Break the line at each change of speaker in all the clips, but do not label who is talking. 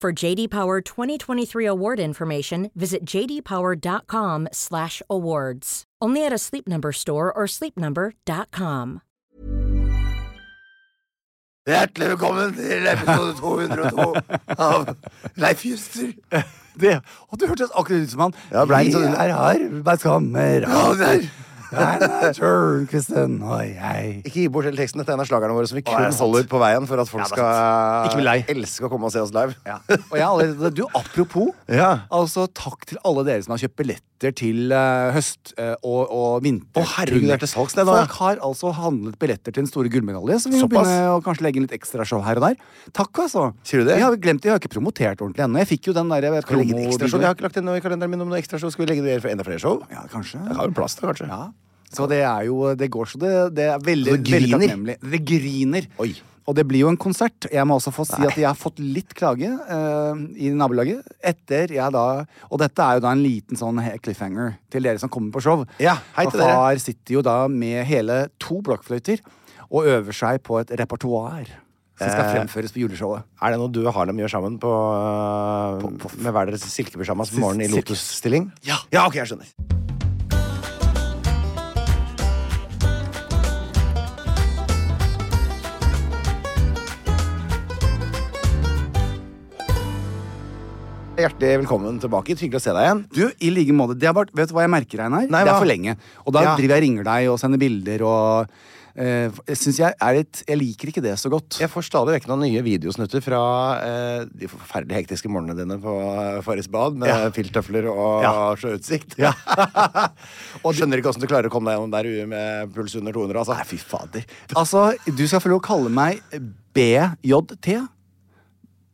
For JD Power 2023 award information, visit jdpower.com/awards. Only at a Sleep Number store or sleepnumber.com.
Hjertelig velkommen til episode 202 av Leif Juster.
Det, og du hørtes akkurat ut som han.
Ja, ble han sånn-
Vi er
Ja, det
arbeidskammerater.
er-
Werner Tørnquisten og jeg.
Ikke gi bort hele teksten. Dette er en av slagerne våre som vi
er
kun
det sant?
holder på veien for at
Ja,
folk
det er sant. Ikke bli
skal
lei.
elske å komme og se oss live.
Ja. Og jeg har allerede, du, apropos,
Ja.
altså takk til alle dere som har kjøpt billetter til eh, høst- eh, og, og vinter.
Å, herregud, det er til salgs, det nå, ja.
Folk har altså handlet billetter til den store gullmedalje, så vi må
Såpass?
begynne å kanskje legge inn litt ekstra show her og der. Takk, altså.
Sier du det?
Jeg har glemt det, jeg har ikke promotert ordentlig ennå. Jeg fikk jo den derre
Skal vi legge inn ekstra show? Jeg har ikke lagt inn noe i kalenderen min om noe ekstra show. Skal vi legge inn enda flere show?
Ja, kanskje.
Jeg har jo plass til, kanskje.
Ja. Så det er jo Det går så det, det er veldig,
Så det griner?
veldig takknemlig. Det griner.
Oi.
Og det blir jo en konsert. Jeg må også få si at jeg har fått litt klage eh, i nabolaget. Etter jeg da Og dette er jo da en liten sånn he- cliffhanger til dere som kommer på show.
Ja, hei
Og
til dere.
Far sitter jo da med hele to blokkfløyter og øver seg på et repertoar som
Eh.
skal fremføres på juleshowet.
Er det noe du og Harlem gjør sammen på, øh, med hver deres silkepysjamas på morgenen i
Silke.
Lotus-stilling?
Ja.
ok, jeg skjønner. Hjertelig velkommen tilbake. Hyggelig å se deg igjen.
Du, i like måte. Det har vært, vet du hva jeg merker, Einar?
Nei,
det
hva?
er for lenge. Og da
Ja.
driver jeg og ringer deg og sender bilder og eh, synes jeg, er litt, jeg liker ikke det så godt.
Jeg får stadig vekk noen nye videosnutter fra eh, de forferdelig hektiske morgenene dine på eh, Farris bad med
Ja.
filttøfler og
Ja.
sjøutsikt.
Ja.
og skjønner ikke åssen du klarer å komme deg gjennom der ute med puls under 200, altså. Nei, fy fader.
Altså, du skal få lov å kalle meg BJT.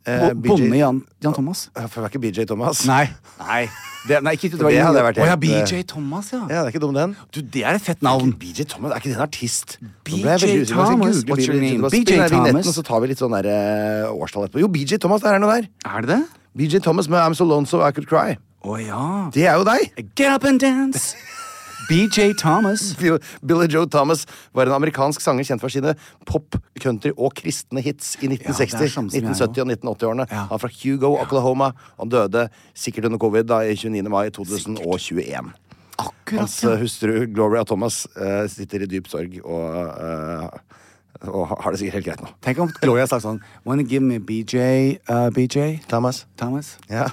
Eh,
Bo-
BJ
Bonde Jan, Jan Thomas.
Ja, for det er ikke BJ Thomas.
Nei. Nei, det, nei ikke,
Det hadde jeg vært
Å ja,
helt, eh,
BJ Thomas, ja.
Ja, det er ikke dum, den.
Du, det er et fett navn.
BJ Thomas, er ikke det en artist?
BJ
Nå ble jeg veldig usikker. Jeg skal
Thomas,
google
what's your name?
Thomas.
BJ
Spill den her vignetten,
Thomas.
Og så tar vi litt sånn der, eh, årstall etterpå. Jo, BJ Thomas, der er noe der.
Er det det?
BJ Thomas med I'm So Lonesome I Could Cry.
Å ja.
Det er jo deg!
Get up and dance! BJ Thomas.
Bill- Billy Joe Thomas var en amerikansk sanger kjent for sine pop, country og kristne hits i
Ja, det er
1960,
samme som jeg
1970 og 1980-årene.
Ja.
Han er fra Hugo, Oklahoma. Han døde sikkert under covid da, i 29. mai 2021.
Akkurat.
Hans
ja.
eh, hustru Gloria Thomas eh, sitter i dyp sorg og, eh, og har det sikkert helt greit nå.
Tenk om Gloria sa sånn Wanna give me BJ, uh, BJ
Thomas.
Thomas?
Ja.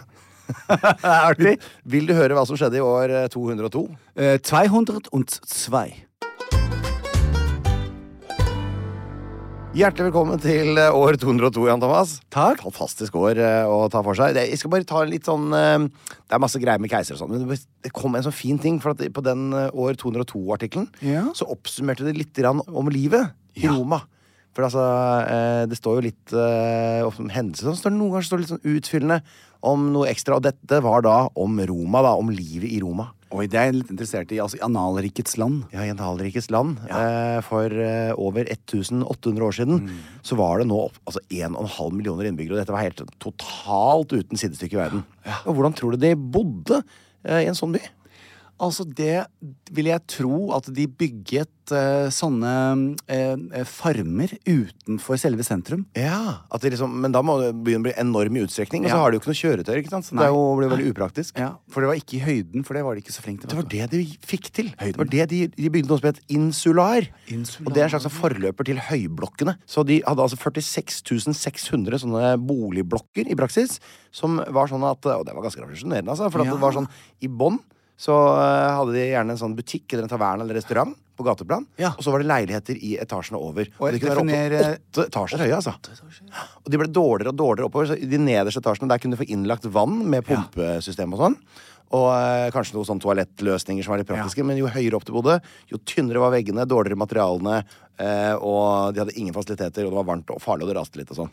Artig. Vil du høre hva som skjedde i år eh, 202?
Eh, 202.
Hjertelig velkommen til eh, år 202, Jan Thomas.
Takk.
Fantastisk år eh, å ta for seg. Det- Jeg skal bare ta litt sånn eh, Det er masse greier med keiser og sånn, men det- det kom en sånn fin ting. For at på den eh, år 202-artikkelen
Ja.
så oppsummerte det litt grann om livet i Roma. For altså, eh, det står jo litt eh, ofte om hendelser sånn, står det noen ganger står det litt sånn utfyllende om noe ekstra. Og dette var da om Roma, da. Om livet i Roma.
Oi, det er jeg litt interessert i. Altså i analrikets land.
Ja, i en halvrikes land. Eh, for eh, over 1800 år siden
Mm.
så var det nå opp, altså 1,5 millioner innbyggere. Og dette var helt totalt uten sidestykke i verden. Og hvordan tror du de bodde eh, i en sånn by?
Altså, det vil jeg tro at de bygget eh, sånne eh, farmer utenfor selve sentrum.
Ja, at det liksom, Men da må det- byen bli enorm i utstrekning, og så
Ja.
har de jo ikke noe kjøretøy. ikke sant? Så
Nei.
det er jo, blir veldig upraktisk.
Ja, For det var ikke i høyden, for det var de ikke så
Det
flinke til.
var
vet du.
det de fikk til. Det var det de, de bygde noe som het insular.
Insular.
Og det er en slags sånn forløper til høyblokkene. Så de hadde altså 46 600 sånne boligblokker i praksis, som var sånn at Og det var ganske revolusjonerende, altså. For at
Ja.
det var sånn i bånn så eh, hadde de gjerne en sånn butikk eller en taverne eller restaurant på gateplan.
Ja.
Og så var det leiligheter i etasjene over. Og, de kunne være
definere-
opp til eh, åtte etasjer høye, altså. Og de ble dårligere og dårligere oppover. Så I de nederste etasjene der kunne du få innlagt vann med pumpesystem og sånn. Og eh, kanskje noen sånne toalettløsninger som var litt praktiske. Men jo høyere opp du bodde, jo tynnere var veggene, dårligere materialene, eh, og de hadde ingen fasiliteter, og det var varmt og farlig, og det raste litt og sånn.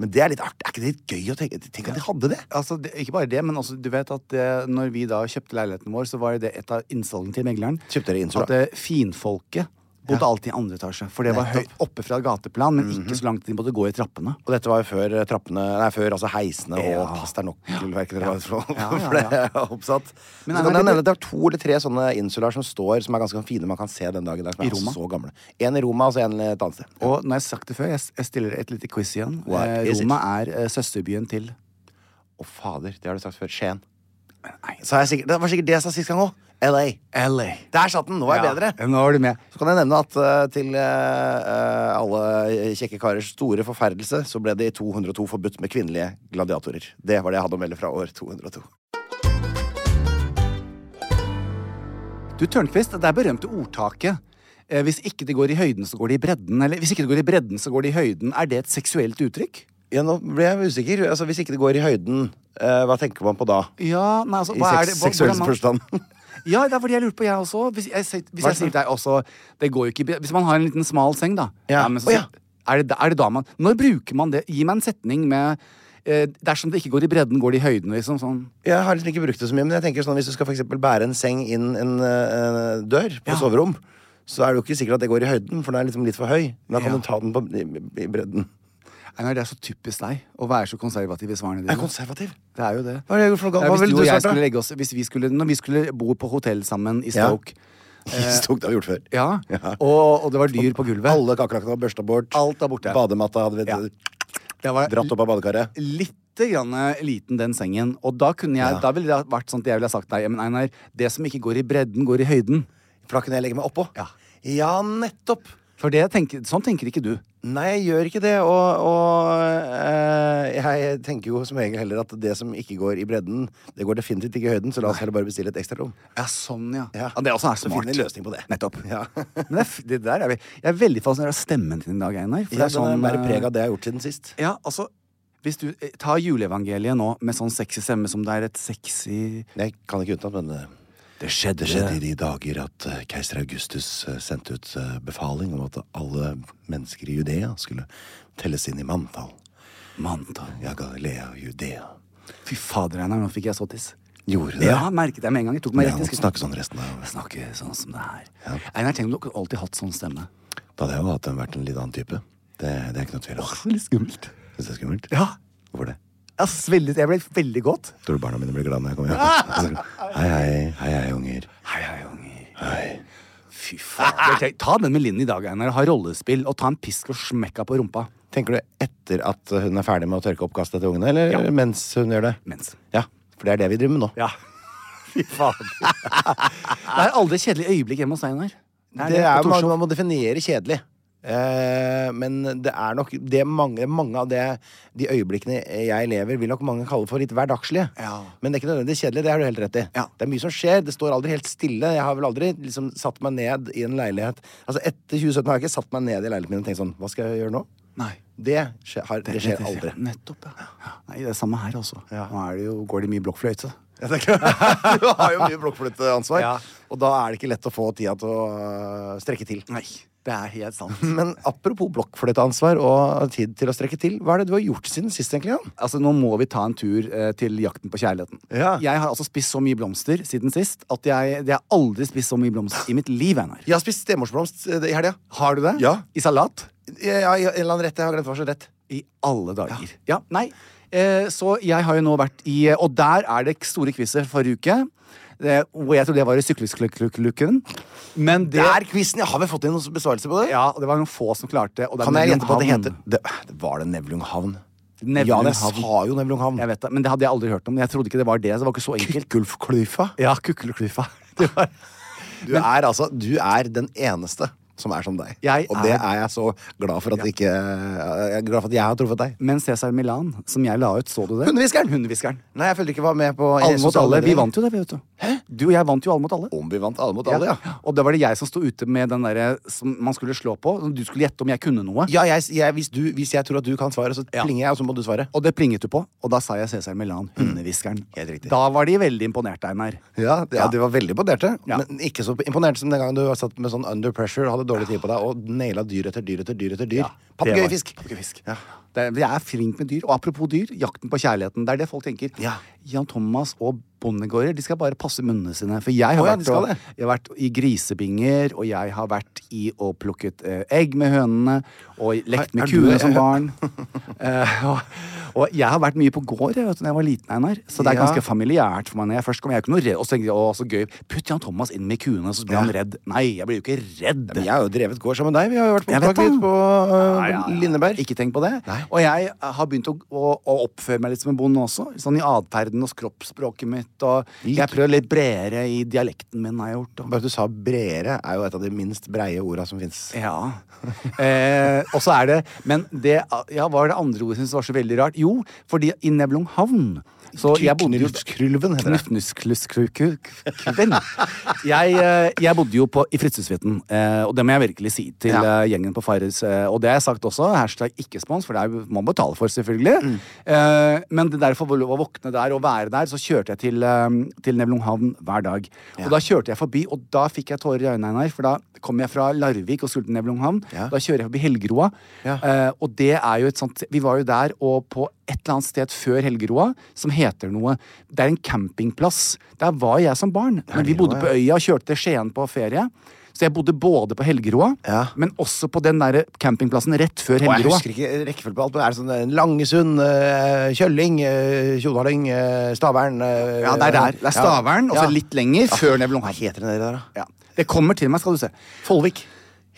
Men det er litt artig. Er ikke det litt gøy å tenke Tenk at de hadde det?
Altså, det, ikke bare det, men også, du vet at det, når vi da kjøpte leiligheten vår, så var jo det et av innsalgene til megleren.
Kjøpte dere innsula?
At eh, finfolket bodde alltid i andre etasje. For det var høyt oppe fra gateplan, men ikke så langt de måtte gå i trappene.
Og dette var jo før eh, trappene Nei, før altså heisene og
Ja.
pass deg nok-verket dere var for,
Ja, ja,
for det er oppsatt. så
Men
kan
er
jeg
det-
nevne at det er to eller tre sånne insulaer som står, som er ganske sånn fine, man kan se den dag i dag. Som
I
er
Roma?
så gamle. En i Roma, og så en et annet sted.
Og når jeg har sagt det før, jeg, jeg stiller et lite quiz igjen.
What
Eh,
is it?
Roma er eh, søsterbyen til
Å, fader, det har du sagt før. Skien.
Nei.
Så er jeg sikkert, det var sikkert det jeg sa sist gang òg. LA.
LA.
Der satt den! Nå er jeg
Ja,
bedre.
Nå er du med.
Så kan jeg nevne at eh, til eh, eh, alle kjekke karers store forferdelse, så ble det i 202 forbudt med kvinnelige gladiatorer. Det var det jeg hadde å melde fra år 202.
Du, Tørnquist, det er berømte ordtaket. Eh, hvis ikke det går i høyden, så går det i bredden. Eller hvis ikke det går i bredden, så går det i høyden. Er det et seksuelt uttrykk?
Ja, nå ble jeg usikker. Altså, hvis ikke det går i høyden, eh, hva tenker man på da?
Ja, nei, altså,
I
hva er
seks
det? Hva-
seksuell
hvordan
forstand.
man- Ja, det er fordi jeg lurte på, jeg også. Hvis jeg, sier- hvis jeg sier til deg også det går jo ikke, i bre- Hvis man har en liten smal seng, da.
Ja.
men så,
Å, ja.
er, det, da- er det da man Når bruker man det? Gi meg en setning med eh, Dersom det ikke går i bredden, går det i høyden, liksom. Sånn.
jeg har liksom ikke brukt det så mye, men jeg tenker sånn, hvis du skal for eksempel bære en seng inn en eh, dør på
Ja.
soverom, så er det jo ikke sikkert at det går i høyden, for den er liksom litt for høy. Men da kan
Ja.
du ta den på, i, i bredden.
Einar, det er så typisk deg å være så konservativ i svarene
Jeg er
dine.
konservativ.
Det er jo det.
Hva er det jeg gjorde for noe galt?
Nei,
Hva
hvis
ville
du og
du
jeg
svart, da?
skulle legge oss hvis vi skulle, Når vi skulle bo på hotell sammen i
Ja.
Stoke
Stok det har vi gjort før.
Ja, Og, og det var dyr på gulvet.
Alle kakelakkene var børsta bort.
Alt er borte.
Badematta hadde vi
Ja. Det var
dratt opp av badekaret.
lite grann liten, den sengen. Og da, kunne jeg, da ville det ha vært sånn at jeg ville ha sagt deg Men Einar, det som ikke går i bredden, går i høyden.
For da kunne jeg legge meg oppå.
Ja.
ja nettopp.
For det tenker, sånn tenker ikke du.
Nei, jeg gjør ikke det. Og, og eh, jeg tenker jo som regel heller at det som ikke går i bredden, det går definitivt ikke i høyden, så la oss heller bare bestille et ekstra rom.
Ja, sånn, ja.
Ja.
det også er
Så
smart.
finner vi en løsning på det.
Nettopp.
Ja.
Men det, er f- det der er vi. Jeg er veldig fascinert av stemmen din i dag, Einar. For
Ja, den er sånn, mer
eh,
preg av det jeg har gjort siden sist.
Ja, altså hvis du eh, tar juleevangeliet nå med sånn sexy stemme som det er et sexy
Jeg kan ikke utenat, men eh,
Det skjedde,
det skjedde i de dager at eh, keiser Augustus eh, sendte ut eh, befaling om at alle mennesker i Judea skulle telles inn i manntall.
mandag.
Ja, Galilea og Judea.
Fy fader, Einar, nå fikk jeg så tiss.
Gjorde det?
Ja, merket jeg med en gang. Jeg tok meg
Ja,
rett i
måtte
skrittet.
snakke sånn resten av
Snakke sånn som det er. Einar, tenk om du alltid hatt sånn stemme.
Da hadde jeg jo hatt en, vært en litt annen type. Det, det er ikke noe tvil om.
Litt skummelt.
Syns det er skummelt?
Ja.
Hvorfor det?
Ass, veldig, jeg ble veldig godt.
Tror du barna mine blir glad når jeg kommer hjem? Hei, hei, hei, hei, unger.
Hei, hei, unger.
Hei.
Fy fader. tenk- Ta den med Linn i dag, Einar. Ha rollespill, og ta en pisk og smekka på rumpa.
Tenker du etter at hun er ferdig med å tørke opp kastet til ungene, eller
Ja.
mens hun gjør det?
Mens.
Ja, for det er det vi driver med nå.
Ja. Fy fader. det er aldri et kjedelig øyeblikk hjemme hos Einar.
Det er,
på
man,
Torshov.
man må definere kjedelig. Eh, men det er nok det mange, mange av det, de øyeblikkene jeg lever, vil nok mange kalle for litt hverdagslige.
Ja.
Men det er ikke nødvendigvis kjedelig. Det har du helt rett i.
Ja.
Det er mye som skjer. Det står aldri helt stille. Jeg har vel aldri liksom, satt meg ned i en leilighet Altså Etter 2017 har jeg ikke satt meg ned i leiligheten min og tenkt sånn Hva skal jeg gjøre nå?
Nei.
Det skjer, har, det skjer aldri.
Nettopp, ja. Nei, det er samme her, altså.
Ja.
Nå er det jo, går det mye blokkfløyte.
Ja, det er klart. du har jo mye blokkflytteansvar,
Ja.
og da er det ikke lett å få tida til å øh, strekke til.
Nei. Det er helt sant.
Men apropos blokkfløyteansvar og tid til å strekke til, hva er det du har gjort siden sist, egentlig? Jan?
Altså, Nå må vi ta en tur eh, til Jakten på kjærligheten.
Ja.
Jeg har altså spist så mye blomster siden sist at jeg, jeg har aldri spist så mye blomster i mitt liv. Einar.
Jeg har spist stemorsblomst eh, i helga.
Har du det?
Ja.
I salat?
Ja, i en eller annen rett. Jeg har glemt hva slags rett.
I alle dager. Ja, nei. Eh, så jeg har jo nå vært i eh, Og der er det store quizet forrige uke. Det, hvor jeg tror det var i syklistklukkelukken. Men det
Det er quizen! Jeg har vel fått inn noen besvarelse på det?
Ja, det var noen få som klarte og det. er
Kan jeg gjette på at det
Nevlunghavn.
heter det, det Var det Nevlunghavn?
Nevlunghavn.
Ja, jeg sa jo Nevlunghavn.
Jeg vet det, Men det hadde jeg aldri hørt om. Jeg trodde ikke det var det. Så det var ikke så enkelt.
Gulfklyfa.
Ja, kukkeleklyfa. Det var
Du er altså Du er den eneste som er som deg.
Jeg
og det
er-
er jeg så glad for at ikke Jeg er glad for at jeg har truffet deg.
Men Cæsar Milan, som jeg la ut, så du det?
Hundehviskeren!
Hundehviskeren.
Nei, jeg følte ikke var med på
Alle mot alle. Vi vant jo det, vi, vet du. Du og jeg vant jo alle mot alle.
Om vi vant alle mot alle, ja.
Og da var det jeg som sto ute med den derre som man skulle slå på. som Du skulle gjette om jeg kunne noe.
Ja, jeg, jeg, hvis, du, hvis jeg tror at du kan svaret, så plinger jeg, og så må du svare.
Og det plinget du på, og da sa jeg Cæsar Milan, hundehviskeren.
Mm. Helt riktig.
Da var de veldig imponerte, Einar.
Ja, det- ja, de var veldig imponerte,
Ja.
men ikke så imponerte som den gangen du satt med sånn under pressure og hadde dårlig tid på deg og naila dyr etter dyr etter dyr. etter dyr. Pappegøyefisk!
Pappegøyefisk.
Ja.
Det er- Jeg er flink med dyr. Og apropos dyr, jakten på kjærligheten. Det er det folk tenker.
Ja.
Jan Thomas og Bondegårder de skal bare passe munnene sine. For jeg har,
Å ja, de
vært,
skal
og,
det.
jeg har vært i grisebinger, og jeg har vært i og plukket eh, egg med hønene, og
Er- er
lekt med
du-
kuene som barn. Eh, og, og jeg har vært mye på gård jeg, vet, du, når jeg var liten, Einar. Så det er
Ja.
ganske familiært for meg. når jeg først kom. Jeg er ikke noe redd, og så tenkte jeg, å, så gøy. Putt Jan Thomas inn med kuene, så blir han redd. Nei, jeg blir jo ikke redd.
Men jeg har jo drevet gård sammen med deg. Vi har jo vært på
Jeg vet
opptak
det.
litt på øh,
Ja, ja, ja.
Lindeberg.
Ikke tenk på det. Og jeg eh, har begynt å, å, å oppføre meg litt som en bonde også. Sånn i atferden og kroppsspråket mitt. Og jeg prøver litt bredere i dialekten min, har jeg gjort. Og.
Bare at du sa bredere, er jo et av de minst breie orda som fins.
Ja. Eh, og så er det Men det ja, hva var det andre ordet jeg syntes var så veldig rart? Jo, fordi i Nevlunghavn så jeg bodde jo
Knulfskrulven heter det.
Knufnusklukkuven. Jeg, eh, jeg bodde jo på, i Fritzøsvitten, eh, og det må jeg virkelig si til
Ja.
eh, gjengen på Farris. eh, Og det har jeg sagt også. Hashtag ikke spons, for det er jo- må man betale for, selvfølgelig.
Mm.
Eh, Men det derfor var lov å våkne der og være der, så kjørte jeg til, eh, til Nevlunghavn hver dag. Og da kjørte jeg forbi, og da fikk jeg tårer i øynene, Einar, for da kom jeg fra Larvik og skulle til Nevlunghavn.
Ja.
Da kjører jeg forbi Helgeroa,
Ja.
eh, og det er jo et sånt Vi var jo der og på et eller annet sted før Helgeroa som heter noe Det er en campingplass. Der var jeg som barn. Men vi bodde på øya og kjørte til Skien på ferie. Så jeg bodde både på Helgeroa,
Ja.
men også på den der campingplassen rett før
Og jeg
Helgeroa.
husker ikke rekkefølge på alt, men er det sånn eh, Langesund, eh, Kjølling, eh, Tjodaling, eh, Stavern eh,
Ja, det er der. Det er Stavern, og så litt lenger før Nevlunghavn.
Hva heter den der, der, da?
Ja. Det kommer til meg, skal du se.
Folvik.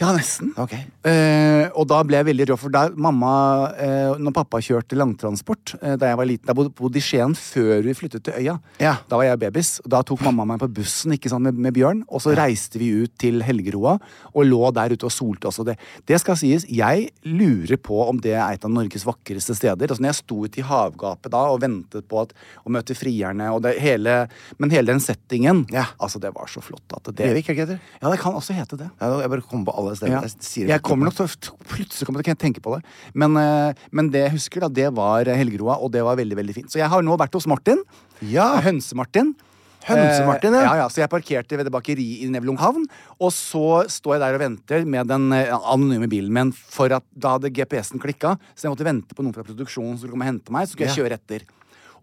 Ja, nesten.
Ok.
Eh, og da ble jeg veldig rå, for der mamma eh, Når pappa kjørte langtransport eh, da jeg var liten Da bodde, bodde i Skien før vi flyttet til øya.
Ja.
Da var jeg babys. og Da tok mamma meg på bussen ikke sant, med, med Bjørn, og så reiste vi ut til Helgeroa og lå der ute og solte oss. Og det, det skal sies, jeg lurer på om det er et av Norges vakreste steder. Altså, når jeg sto ute i havgapet da og ventet på at, å møte frierne og det hele Men hele den settingen,
Ja.
altså, det var så flott at det
Brevik, er det ikke det heter?
Ja, det kan også hete det.
Ja, nå- jeg bare kommer på alle steder.
Ja.
Jeg, sier
Jeg kommer nok til å Plutselig kommer jeg til å tenke på det. Men, eh, men det jeg husker, da, det var eh, Helgeroa, og det var veldig veldig fint. Så jeg har nå vært hos Martin.
Ja.
Hønse-Martin. Eh,
Hønse-Martin, ja.
ja. ja. Så jeg parkerte ved det bakeriet i Nevlunghavn. Og så står jeg der og venter med den eh, anonyme bilen min, for at da hadde GPS-en klikka, så jeg måtte vente på noen fra produksjonen som skulle komme og hente meg. Så skulle jeg kjøre etter.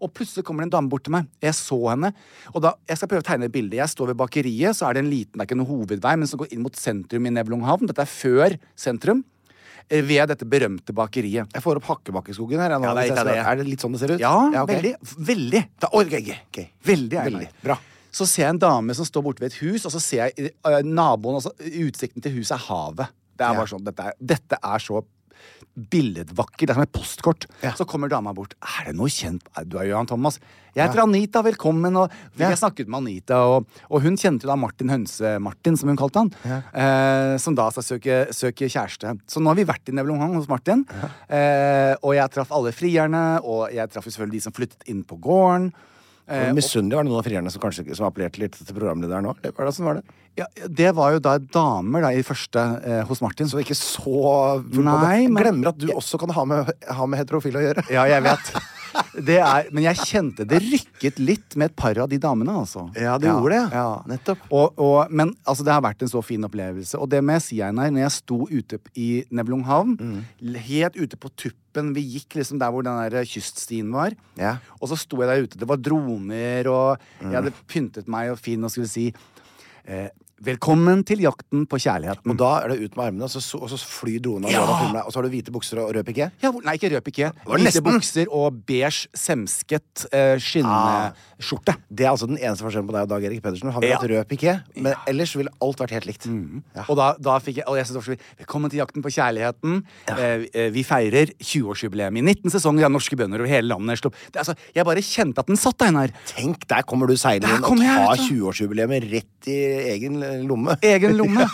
Og plutselig kommer det en dame bort til meg. Jeg så henne. Og da, Jeg skal prøve å tegne et bilde. Jeg står ved bakeriet, så er det en liten det er ikke noen hovedvei, men som går inn mot sentrum i Nevlunghavn. Dette er før sentrum. eh, Ved dette berømte bakeriet.
Jeg får opp Hakkebakkeskogen her. jeg, nå,
Ja, det
hvis
er
jeg
litt
skal-
av det.
er det litt sånn det ser ut?
Ja,
ok.
veldig. Veldig.
Da, oh, ok, ok, ok.
Veldig, er jeg
Veldig.
meg.
Bra.
Så ser jeg en dame som står borte ved et hus, og så ser jeg eh, naboen altså, Utsikten til huset er havet. Det er
Ja.
bare sånn, dette, er, dette er så billedvakkert. Det er som et postkort.
Ja.
Så kommer dama bort. Er det noe kjent Er- Du er jo Johan Thomas. Jeg heter Anita, velkommen. Og fikk jeg snakket med Anita, og, og hun kjente jo da Martin Hønse-Martin, som hun kalte han. Eh, som da skal søke, søke kjæreste. Så nå har vi vært i Nevlunghavn hos Martin. Eh, og jeg traff alle frierne, og jeg traff jo selvfølgelig de som flyttet inn på gården. Eh,
Men Misunnelig var det noen av frierne som kanskje som appellerte litt til programlederen nå Eller hvordan var det?
Ja, det var jo da damer da, i første eh, hos Martin.
Så ikke så
Nei, men-
Glemmer at du også kan ha med, ha med et profil å gjøre.
Ja, jeg vet. Det er, men jeg kjente det rykket litt med et par av de damene, altså.
Ja, det gjorde det, ja. Nettopp.
Og, og, men altså, det har vært en så fin opplevelse. Og det må jeg si, Einar, når jeg sto ute p- i Neblunghavn,
Mm.
l- helt ute på tuppen Vi gikk liksom der hvor den der kyststien var.
Ja. Mm.
Og så sto jeg der ute. Det var droner, og jeg hadde pyntet meg og fin og skulle si eh, Velkommen til jakten på kjærligheten.
Og da er det ut med armene, og så, og så flyr dronen av
Ja.
gårde og filmer deg. Og så har du hvite bukser og rød piké.
Ja, hvor- nei, ikke rød piké.
var
Hvite
nesten.
bukser og beige, semsket eh, skinneskjorte.
Det er altså den eneste forskjellen på deg og Dag Erik Pedersen. Han ville
Ja. Mm.
hatt rød piké, men ellers ville alt vært helt likt. Ja.
Og da, da fikk jeg, og jeg synes det var så fint. Velkommen til Jakten på kjærligheten. Eh, eh, vi feirer 20-årsjubileum i 19 sesonger av norske bønder over hele landet. Slo- Det, er altså, jeg bare kjente at den satt, Einar.
Tenk, der kommer du
Der
seilende inn og
kommer jeg,
tar
vet du.
20-årsjubileet rett i egen lomme.
Egen lomme.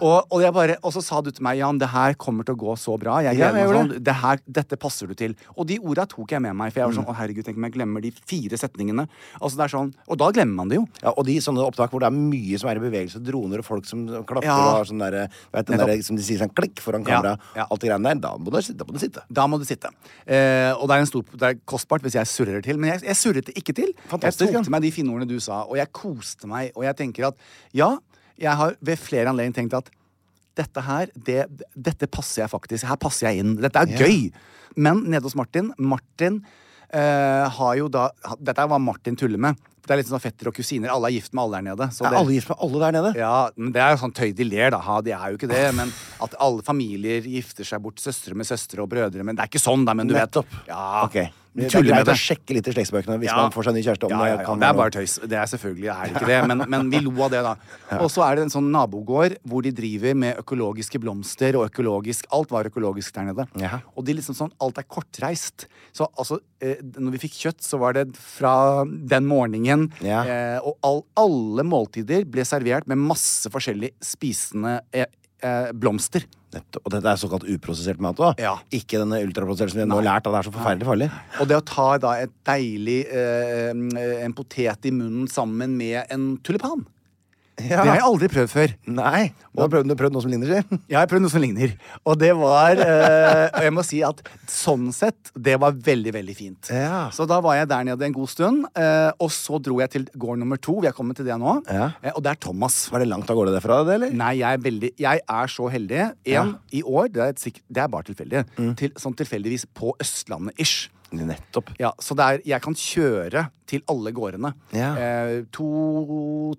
og, og, jeg bare, og så sa du til meg, Jan, det her kommer til å gå så bra. Jeg
Ja, jeg
gleder meg
gjorde
sånn. Det her, dette passer du til. Og de orda tok jeg med meg, for jeg var
Mm.
sånn, å herregud, tenk om jeg glemmer de fire setningene. Altså, det er sånn, og da glemmer man det jo.
Ja, og de sånne opptak hvor det er mye som er i bevegelse, droner og folk som klapper
Ja.
og har sånn derre Vet du den
Nettopp.
derre som de sier sånn klikk foran
Ja,
kamera,
ja.
alt det greiene der, da må du, da må du sitte.
Da må du sitte. Eh, og det er, en stor, det er kostbart hvis jeg surrer til, men jeg, jeg surret det ikke til.
Fantastisk,
jeg
ja.
tok til meg de fine ordene du sa, og jeg koste meg. Og jeg tenker at ja, jeg har ved flere anledninger tenkt at dette her, det, dette passer jeg faktisk. Her passer jeg inn. Dette er gøy. Men nede hos Martin Martin eh, har jo da Dette er hva Martin tuller med. Det er litt sånn fetter og kusiner. Alle er gift med alle der nede. Så
Er
det-
alle gift med alle der nede?
ja, men Det er jo sånn tøy de ler, da. Ha, de er jo ikke det. Men At alle familier gifter seg bort søstre med søstre og brødre. Men det er ikke sånn, da. Men du
Nettopp.
vet. Ja,
Ok. Det er
Tuller med
greit å
det.
sjekke litt i slektsbøkene hvis
Ja.
man får seg ny kjæreste. om
ja, ja, ja,
kan
det
være
er bare
noe.
tøys. Det er selvfølgelig er det ikke det, men, men vi lo av det, da. Og så er det en sånn nabogård hvor de driver med økologiske blomster og økologisk Alt var økologisk der nede.
Jaha.
Og de liksom sånn Alt er kortreist. Så altså eh, Når vi fikk kjøtt, så var det fra den morgenen.
Ja.
Eh, og all, alle måltider ble servert med masse forskjellig spisende eh, eh, blomster.
Nettopp. Og dette er såkalt uprosessert mat òg.
Ja.
Ikke denne ultraprosessert som vi nå har lært. at Det er så forferdelig farlig.
Og det å ta da et deilig eh, En potet i munnen sammen med en tulipan. Det har jeg aldri prøvd før.
Nei. Du har prøvd, du har prøvd noe som ligner, si.
Jeg har prøvd noe som ligner. Og det var eh, Og jeg må si at sånn sett, det var veldig, veldig fint.
Ja.
Så da var jeg der nede en god stund, eh, og så dro jeg til gård nummer to. Vi har kommet til det nå.
Ja.
Eh, og det er Thomas.
Var det langt av gårde derfra, det, eller?
Nei, jeg er, veldig, jeg er så heldig. Én i år, det er, et sikk- det er bare tilfeldig.
Mm.
Til, sånn tilfeldigvis på Østlandet-ish.
Nettopp.
Ja, så det er, jeg kan kjøre til alle gårdene.
Ja.
Eh, to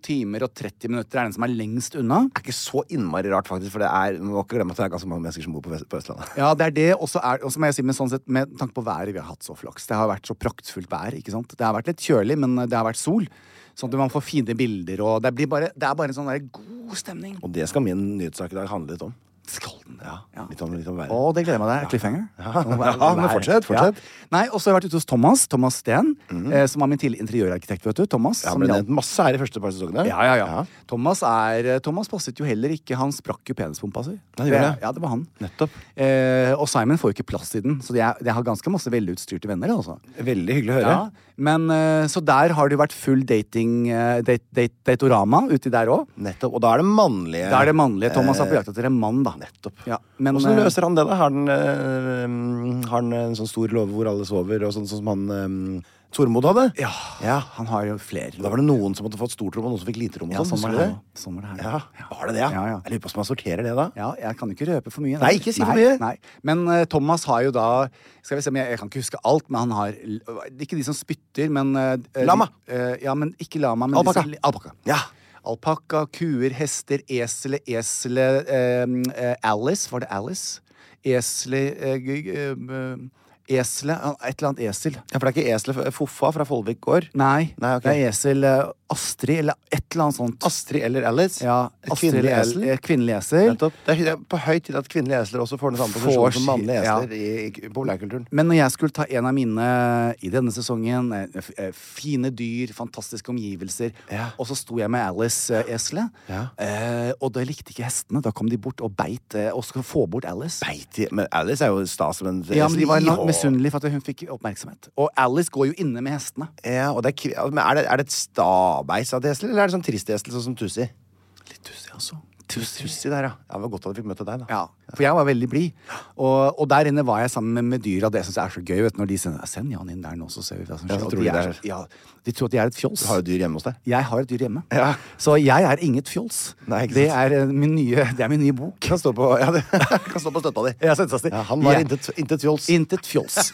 timer og 30 minutter er den som er lengst unna.
Det er ikke så innmari rart, faktisk, for det er, man må ikke glemme at det er ganske mange mennesker som bor på, Vest på Østlandet.
Ja, det er det. Og så er- og så må jeg si, men sånn sett, med tanke på været vi har hatt så flaks. Det har vært så praktfullt vær. ikke sant? Det har vært litt kjølig, men det har vært sol. Sånn at man får fine bilder, og det, blir bare, det er bare en sånn der god stemning.
Og det skal min nyhetssak i dag handle litt om.
Skal den det?
Ja, Litt om, litt om været.
Å, det gleder jeg meg til. Cliffhanger.
Ja,
Nå er-
ja, men
vær-
fortsett, fortsett. Mhm.
Nei, Og så har jeg vært ute hos Thomas Thomas Steen, eh, som var min tidligere interiørarkitekt. vet du, Thomas.
ja,
som
ble
hjalp-
nevnt masse her i første par sesongene.
Ja, ja, ja. Thomas, er, eh, Thomas passet jo heller ikke. Han sprakk jo penispumpa si.
han gjorde det.
ja, det var han.
Nettopp.
Eh, og Simon får jo ikke plass i den, så jeg, jeg har ganske masse velutstyrte venner. altså.
Veldig hyggelig å høre.
Ja, men eh, Så der har det jo vært full dating, eh, date, date, datorama uti der òg.
Nettopp. Og da er det mannlige. Eh,
Da er det mannlige. Thomas er på jakt etter en mann, da.
Nettopp.
Ja, men,
Åssen
eh,
løser han det, da? Har han, eh, mm, har han en sånn stor låve hvor alle sover, og sånn, sånn som han eh, Tormod hadde?
ja,
Ja.
han har jo flere.
Da var det noen som hadde fått stort rom, og noen som fikk lite rom. og
ja,
sånn,
sånn var
husker
det her
du
nå. Sånn var det her nå.
Ja, Var det det, ja?
Ja, ja.
Jeg lurer på hvordan man sorterer det, da.
Ja, jeg kan jo ikke røpe for mye.
Nei, ikke si for
Nei,
mye.
Nei. Men eh, Thomas har jo da Skal vi se, men jeg, jeg kan ikke huske alt, men han har l- Ikke de som spytter, men eh, de-
Lama.
eh, ja, men ikke lama, men
Alpaka.
disse- Alpakka.
Ja.
Alpakka, kuer, hester, esele, esele eh, eh, Alice, var det Alice? Esle eh, g- g- eh, Esle Et eller annet esel.
ja, for det er ikke eselet Foffa fra Follvik gård.
Nei,
Nei, ok.
det er esel eh, Astrid, eller et eller annet sånt.
Astrid eller Alice.
ja,
Et
Astrid
kvinnelig
eller-
esel.
eh, Kvinnelig esel.
Nettopp. Det er hy- det er på høy tid at kvinnelige esler også får den samme
Får
posisjonen som
si-
mannlige
ja.
esler i, i populærkulturen.
Men når jeg skulle ta en av mine i denne sesongen eh, f- eh, Fine dyr, fantastiske omgivelser.
Ja.
Og så sto jeg med Alice-eselet.
Ja.
eh, og da likte ikke hestene. Da kom de bort og beit. Eh, og skulle få bort Alice.
Beit i Men Alice er jo stas som en
Ja, men De var
Ihå.
misunnelige for at hun fikk oppmerksomhet. Og Alice går jo inne med hestene.
Ja, og det er, kvi- men er, det, er det et stabeis av et esel, eller er det sånn trist esel, sånn som Tussi?
Litt tussig, altså. Tussi.
Tussi der, ja. ja. Det var godt at vi fikk møte deg, da.
Ja, for jeg var veldig blid. Og, og der inne var jeg sammen med, med dyra. Det syns jeg er så gøy. Vet, du, når de sender, Send Jan inn der nå, så ser vi hva som
Ja,
skjer.
så
Og
tror
de,
de
er,
det
så- ja, de tror at jeg er et fjols.
Du har jo dyr hjemme hos deg.
Jeg har et dyr hjemme.
Ja.
Så jeg er inget fjols.
Nei, ikke
det,
sant.
er eh, min nye, det er min nye bok.
Kan stå på, ja, det, kan stå på støtta di.
Ja, søtsasti.
Ja, han var
Jeg-
intet, intet fjols.
Intet fjols.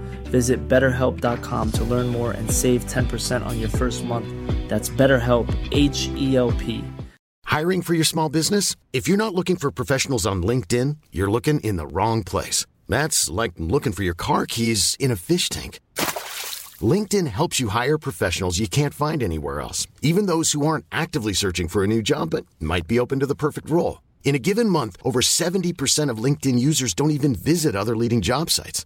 Visit betterhelp.com to learn more and save 10% on your first month. That's BetterHelp, H E L P.
Hiring for your small business? If you're not looking for professionals on LinkedIn, you're looking in the wrong place. That's like looking for your car keys in a fish tank. LinkedIn helps you hire professionals you can't find anywhere else, even those who aren't actively searching for a new job but might be open to the perfect role. In a given month, over 70% of LinkedIn users don't even visit other leading job sites.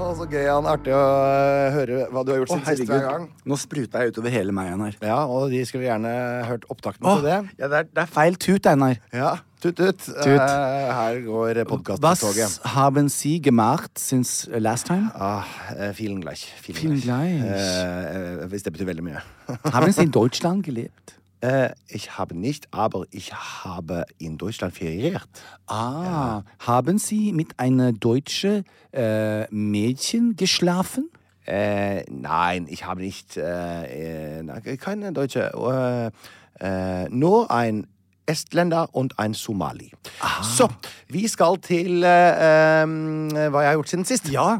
Å, så gøy, Jan. Artig å eh, høre hva du har gjort
Å,
siden sist hver gang.
Nå spruta jeg utover hele meg, Einar.
Ja, og de skulle gjerne hørt opptakten
Å,
til det.
ja, det, er, det er feil tut, Einar.
Ja, tut-tut. Eh, her går
Was
podkast-toget.
haben Sie gemacht since last time?
Ah, eh, vielen gleich. Vielen
Vielen
gleich.
gleich.
Eh, eh, hvis det betyr veldig mye.
Haben Sie in Deutschland gelebt?
Eh, ich habe nicht, aber ich habe in Deutschland feriert.
Ah, haben Sie mit einer deutschen äh, Mädchen geschlafen?
Eh, nein, ich habe nicht äh, äh, na, keine Deutsche. Äh, äh, nur ein Estländer und ein Somali. Så, vi skal til eh, em, hva jeg har gjort siden sist.
Ja.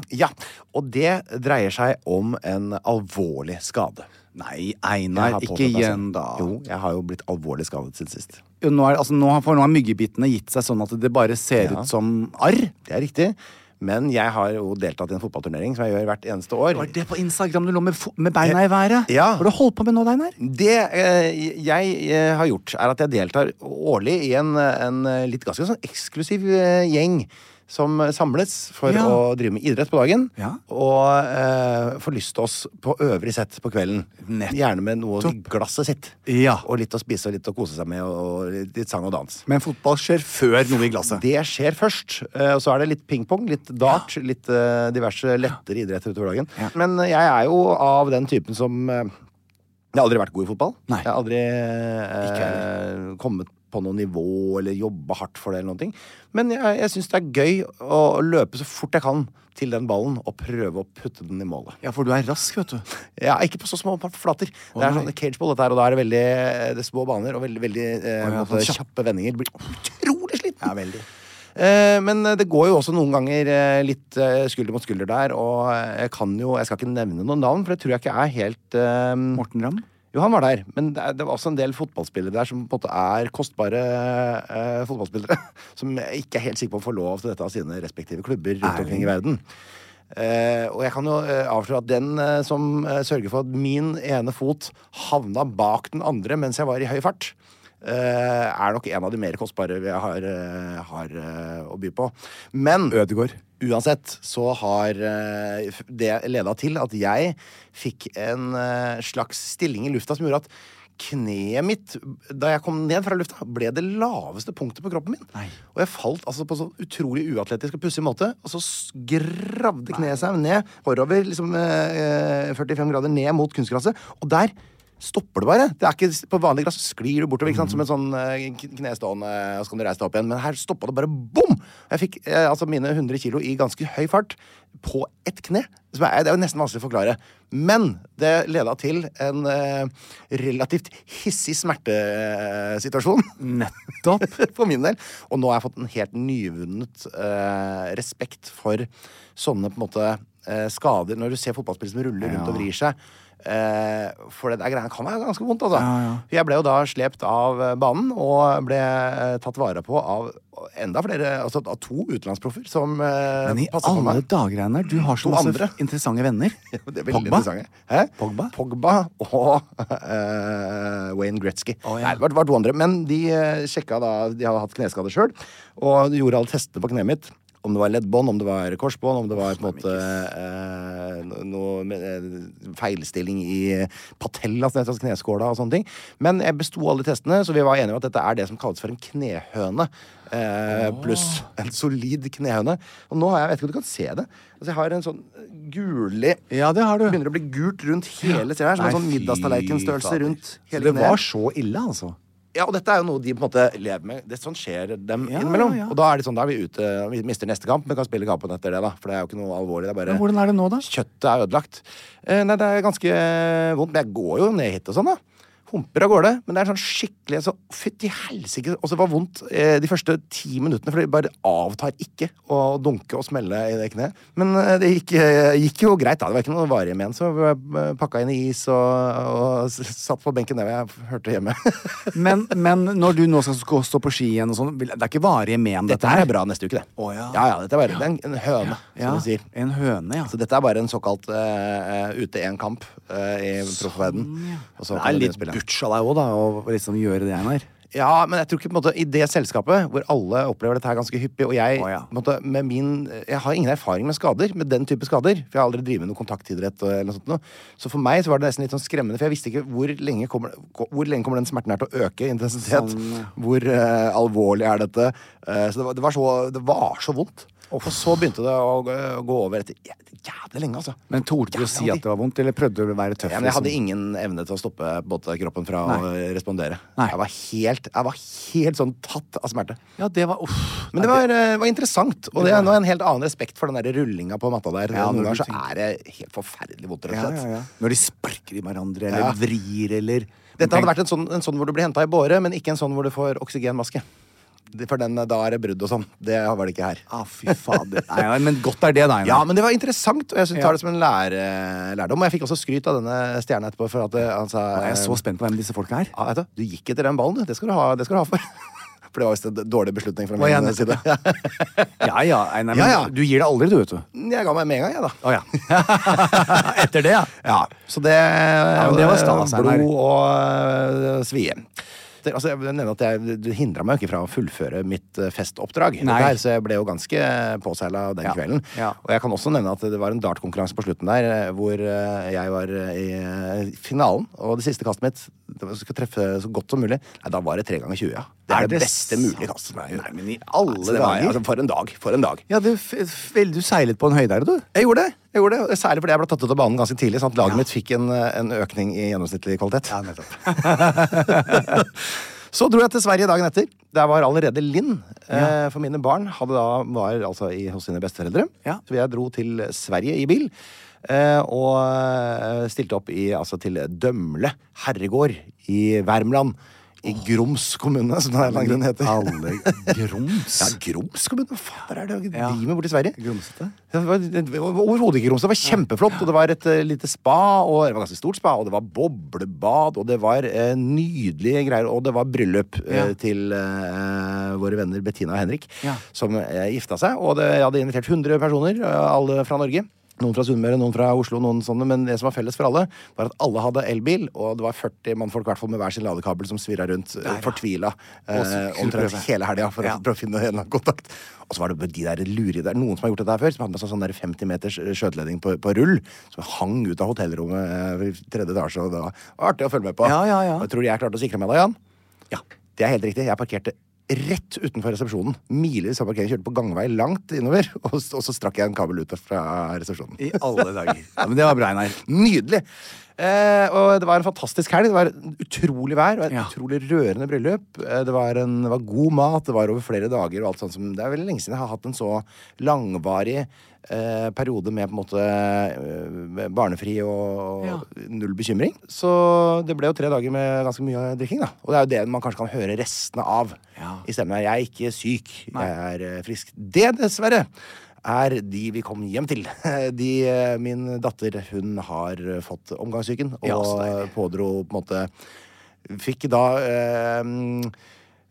Og det dreier seg om en alvorlig skade.
Nei,
Jeg
Einar,
har
ikke
påtatt meg
igjen,
selv.
da.
Jo, jeg har jo blitt alvorlig skadet siden sist.
Nå er, altså, nå, har- for nå har myggebittene gitt seg sånn at det bare ser
Ja.
ut som arr.
Det er riktig. Men jeg har jo deltatt i en fotballturnering som jeg gjør hvert eneste år.
Var det på Instagram du lå med, fo- med beina i været?
Ja.
Hva har du holdt på med nå, Einar?
Det eh, jeg eh, har gjort, er at jeg deltar årlig i en, en litt ganske sånn eksklusiv eh, gjeng. Som samles for
Ja.
å drive med idrett på dagen.
Ja.
Og eh, forlyste oss på øvrig sett på kvelden.
Nettopp.
Gjerne med noe i glasset sitt.
Ja.
Og litt å spise og litt å kose seg med. Og litt- litt sang og dans.
Men fotball skjer før noe i glasset.
Det skjer først. eh, Og så er det litt pingpong, litt dart, litt eh, diverse lettere idretter utover dagen.
Ja.
Men eh, jeg er jo av den typen som eh, Jeg har aldri vært god i fotball.
Nei.
Jeg har aldri eh, kommet på noe nivå eller jobba hardt for det. eller noen ting. Men jeg, jeg syns det er gøy å løpe så fort jeg kan til den ballen og prøve å putte den i målet.
Ja, for du er rask, vet du.
Ja, ikke på så små flater. det er
nei.
sånn cageball, dette her, og da er det veldig eh, det er små baner og veldig, veldig eh,
Å ja,
måtte,
sånn kjapp.
kjappe vendinger. Blir utrolig sliten. Eh, men eh, det går jo også noen ganger eh, litt eh, skulder mot skulder der, og eh, jeg kan jo Jeg skal ikke nevne noen navn, for det tror jeg ikke er helt eh,
Morten Ramm.
Jo, han var der, men det, er- det var også en del fotballspillere der som på en måte er kostbare eh, fotballspillere. Som jeg ikke er helt sikker på om får lov til dette av sine respektive klubber rundt omkring i verden. Eh, og jeg kan jo eh, avsløre at den eh, som eh, sørger for at min ene fot havna bak den andre mens jeg var i høy fart,
eh, er nok en av de mer kostbare vi har, eh, har eh, å by på. Men
Ødegård.
uansett så har eh, f- det leda til at jeg fikk en eh, slags stilling i lufta som gjorde at Kneet mitt, da jeg kom ned fra lufta, ble det laveste punktet på kroppen min. Og jeg falt altså på en sånn utrolig uatletisk og pussig måte, og så s- gravde kneet seg ned forover, liksom eh, eh, 45 grader ned mot kunstgresset, og der stopper det bare. Det er ikke, på vanlig gress sklir du bortover ikke sant? som en sånn eh, kn- knestående, og så kan du reise deg opp igjen. Men her stoppa det bare bom! Jeg fikk eh, altså mine 100 kilo i ganske høy fart på ett kne. Som er, det er jo nesten vanskelig å forklare. Men det leda til en eh, relativt hissig smertesituasjon. Nettopp. for min del. Og nå har jeg fått en helt nyvunnet eh, respekt for sånne på en måte eh, skader når du ser fotballspillere som ruller rundt og vrir seg. Eh, for det der greiene kan være ganske vondt, altså. Jeg ble jo da slept av eh, banen og ble eh, tatt vare på av enda flere, altså av to utenlandsproffer som eh,
Men i
passet på
alle
meg.
dager, Einar, du har så
To
masse
andre.
interessante venner.
Det er veldig interessante. Hæ?
Pogba?
Pogba og eh, Wayne Gretzky.
Å, ja.
Nei, det var, var to andre. Men de eh, sjekka da De hadde hatt kneskader sjøl, og de gjorde alle testene på kneet mitt. Om det var leddbånd, om det var korsbånd, om det var på en måte eh, no- noe med, eh, feilstilling i patella, som heter altså kneskåla og sånne ting. Men jeg besto alle testene, så vi var enige om at dette er det som kalles for en knehøne. Eh, pluss en solid knehøne. Og nå har jeg, jeg vet ikke om du kan se det. Altså, jeg har en sånn gullig
Ja, det har du.
begynner å bli gult rundt hele stedet her. Som en sånn
Nei, fy
middagstallerkenstørrelse
fader.
rundt
Så
hele
Det
kneet.
var så ille, altså.
Ja, og dette er jo noe de på en måte lever med. Det sånn skjer dem
Ja,
innimellom.
ja.
Og da er det sånn, da er vi ute, vi mister neste kamp, men kan spille kampen etter det, da. For det er jo ikke noe alvorlig. Det er bare
Men hvordan er det nå, da?
Kjøttet er ødelagt. Eh, nei, det er ganske eh, vondt. Men jeg går jo ned hit og sånn, da. Humper av gårde. Men det er sånn skikkelig så, Fytti helsike! Og så var det vondt eh, de første ti minuttene, for det bare avtar ikke å dunke og smelle i det kneet. Men eh, det gikk, eh, gikk jo greit, da. Det var ikke noe varige men. Så eh, pakka inn i is og, og s- satt på benken der jeg hørte hjemme.
Men, men når du nå skal gå- stå på ski igjen og sånn, vil- det er ikke varige men, dette,
dette her er bra neste uke, det.
Å, ja.
ja, dette er bare det er en, en høne,
Ja,
som du sier.
en høne, ja.
Så dette er bare en såkalt eh, ute én kamp eh, i proffverden. Og så
Det
kan
er
du
litt
begynne å spille.
butch av deg òg, da, å liksom gjøre det, Einar.
Ja, men jeg tror ikke på en måte i det selskapet hvor alle opplever dette her ganske hyppig, og jeg
Å, ja.
på en måte, med min Jeg har ingen erfaring med skader, med den type skader, for jeg har aldri drevet med noe kontaktidrett og- eller noe sånt noe. Så for meg så var det nesten litt sånn skremmende, for jeg visste ikke hvor lenge kommer, hvor lenge kommer den smerten her til å øke i intensitet.
Sånn,
Hvor eh, alvorlig er dette? Eh, så det var, det var så Det var så vondt. Og så begynte det å, gå- å gå over etter jæ- jævlig lenge, altså.
Men torde du å si
Jævlig.
at det var vondt, eller prøvde du å være tøff?
Ja, men jeg hadde
liksom?
ingen evne til å stoppe både kroppen fra å respondere.
Nei.
Jeg, var helt, jeg var helt sånn tatt av smerte.
Ja, det var uff.
Men det var, eh, var interessant, og det er nå en helt annen respekt for den der rullinga på matta der.
Ja,
Noen
når du
ganger så er det helt forferdelig vondt, rett
Ja,
og
ja,
slett.
ja. Når de sparker i hverandre, eller
Ja.
vrir, eller
Dette hadde vært en sånn, en sånn hvor du blir henta i båre, men ikke en sånn hvor du får oksygenmaske. Det- For den, eh, da er det brudd og sånn. Det var det ikke her.
Ah, fy fader. Nei, nei, men godt er det, da, Einar.
Ja, men det var interessant, og jeg synes,
Ja.
tar det som en lære, eh, lærdom. Og jeg fikk også skryt av denne stjerna etterpå for at eh, han sa
Jeg
eh,
er så spent på hvem disse folka er.
Ja, vet du, du gikk etter den ballen, du. Det skal du ha, det skal du ha for. For det var visst en dårlig beslutning fra
Å, ja,
min side.
Ja ja, Einar. Men
Ja, ja.
du gir det aldri, du, vet du.
Jeg ga meg med en gang, jeg, da.
Å ja. Etter det, ja.
Ja, så det, eh,
men det var stas, Einar.
Blod og øh, svie. Det, altså, jeg vil nevne at jeg, Du hindra meg jo ikke fra å fullføre mitt øh, festoppdrag.
Nei.
Dette her, så jeg ble jo ganske påseila den
Ja.
kvelden.
Ja.
Og jeg kan også nevne at det var en dartkonkurranse på slutten der øh, hvor øh, jeg var øh, i øh, finalen. Og det siste kastet mitt det var, Skal treffe så godt som mulig. Nei, da var det tre ganger 20, ja. Det er,
Er
det
det
beste mulige
sant?
kastet. som er-
Nei, men i alle
Så det var-
dager.
Altså, for en dag. For en dag.
Ja, du, f- f- vel, du seilet på en høydere, du.
Jeg gjorde det. jeg gjorde det, Særlig fordi jeg ble tatt ut av banen ganske tidlig. sånn at Laget mitt fikk en, en økning i gjennomsnittlig kvalitet. så dro jeg til Sverige dagen etter. Der var allerede Linn. Eh, for mine barn hadde da, var altså i, hos sine besteforeldre.
Ja.
Så jeg dro til Sverige i bil. Eh, og eh, stilte opp i, altså, til Dømle herregård i Värmland. I Groms kommune, som det av en eller annen grunn heter.
Alle grums.
Ja, Groms kommune? Hva faen er det de
Ja.
driver med borti Sverige?
Grumsete.
Ja, Det var, det var overhodet ikke grums. Det var kjempeflott. Og det var et eh, lite spa, og det var ganske stort spa, og det var boblebad, og det var eh, nydelige greier. Og det var bryllup eh,
Ja.
til eh, våre venner Bettina og Henrik,
Ja.
som eh, gifta seg. Og det, jeg hadde invitert 100 personer, eh, alle fra Norge. Noen fra Sunnmøre, noen fra Oslo, noen sånne, men det som var felles for alle, var at alle hadde elbil, og det var 40 mannfolk hvertfall, med hver sin ladekabel som svirra rundt, eh, fortvila, eh, omtrent
sykkelprøve.
hele helga for
Ja.
å prøve å finne en eller annen kontakt. Og så var det de der lure der, noen som har gjort dette her før, som hadde med seg sånn der 50 meters skjøteledning på, på rull, som hang ut av hotellrommet eh, i tredje etasje, og det var artig å følge med på.
Ja, ja, ja.
Og jeg tror jeg klarte å sikre meg da, Jan.
Ja.
Det er helt riktig. Jeg parkerte rett utenfor resepsjonen. Milevis av parkering. Kjørte på gangvei langt innover. Og, s- og så strakk jeg en kabel ut fra resepsjonen.
I alle dager. Ja, men det var bra, Einar.
Nydelig! Eh, og det var en fantastisk helg. Det var utrolig vær og et
Ja.
utrolig rørende bryllup. Eh, det, var en, det var god mat, det var over flere dager og alt sånt som Det er veldig lenge siden jeg har hatt en så langvarig eh, periode med på en måte eh, barnefri og
Ja.
null bekymring. Så det ble jo tre dager med ganske mye drikking, da. Og det er jo det man kanskje kan høre restene av
Ja.
i stemmen. her. Jeg er ikke syk, jeg er eh, frisk. Det, dessverre, er de vi kom hjem til. De, eh, min datter hun har eh, fått omgangssyken og
Ja, så deilig.
pådro på en måte Fikk da eh,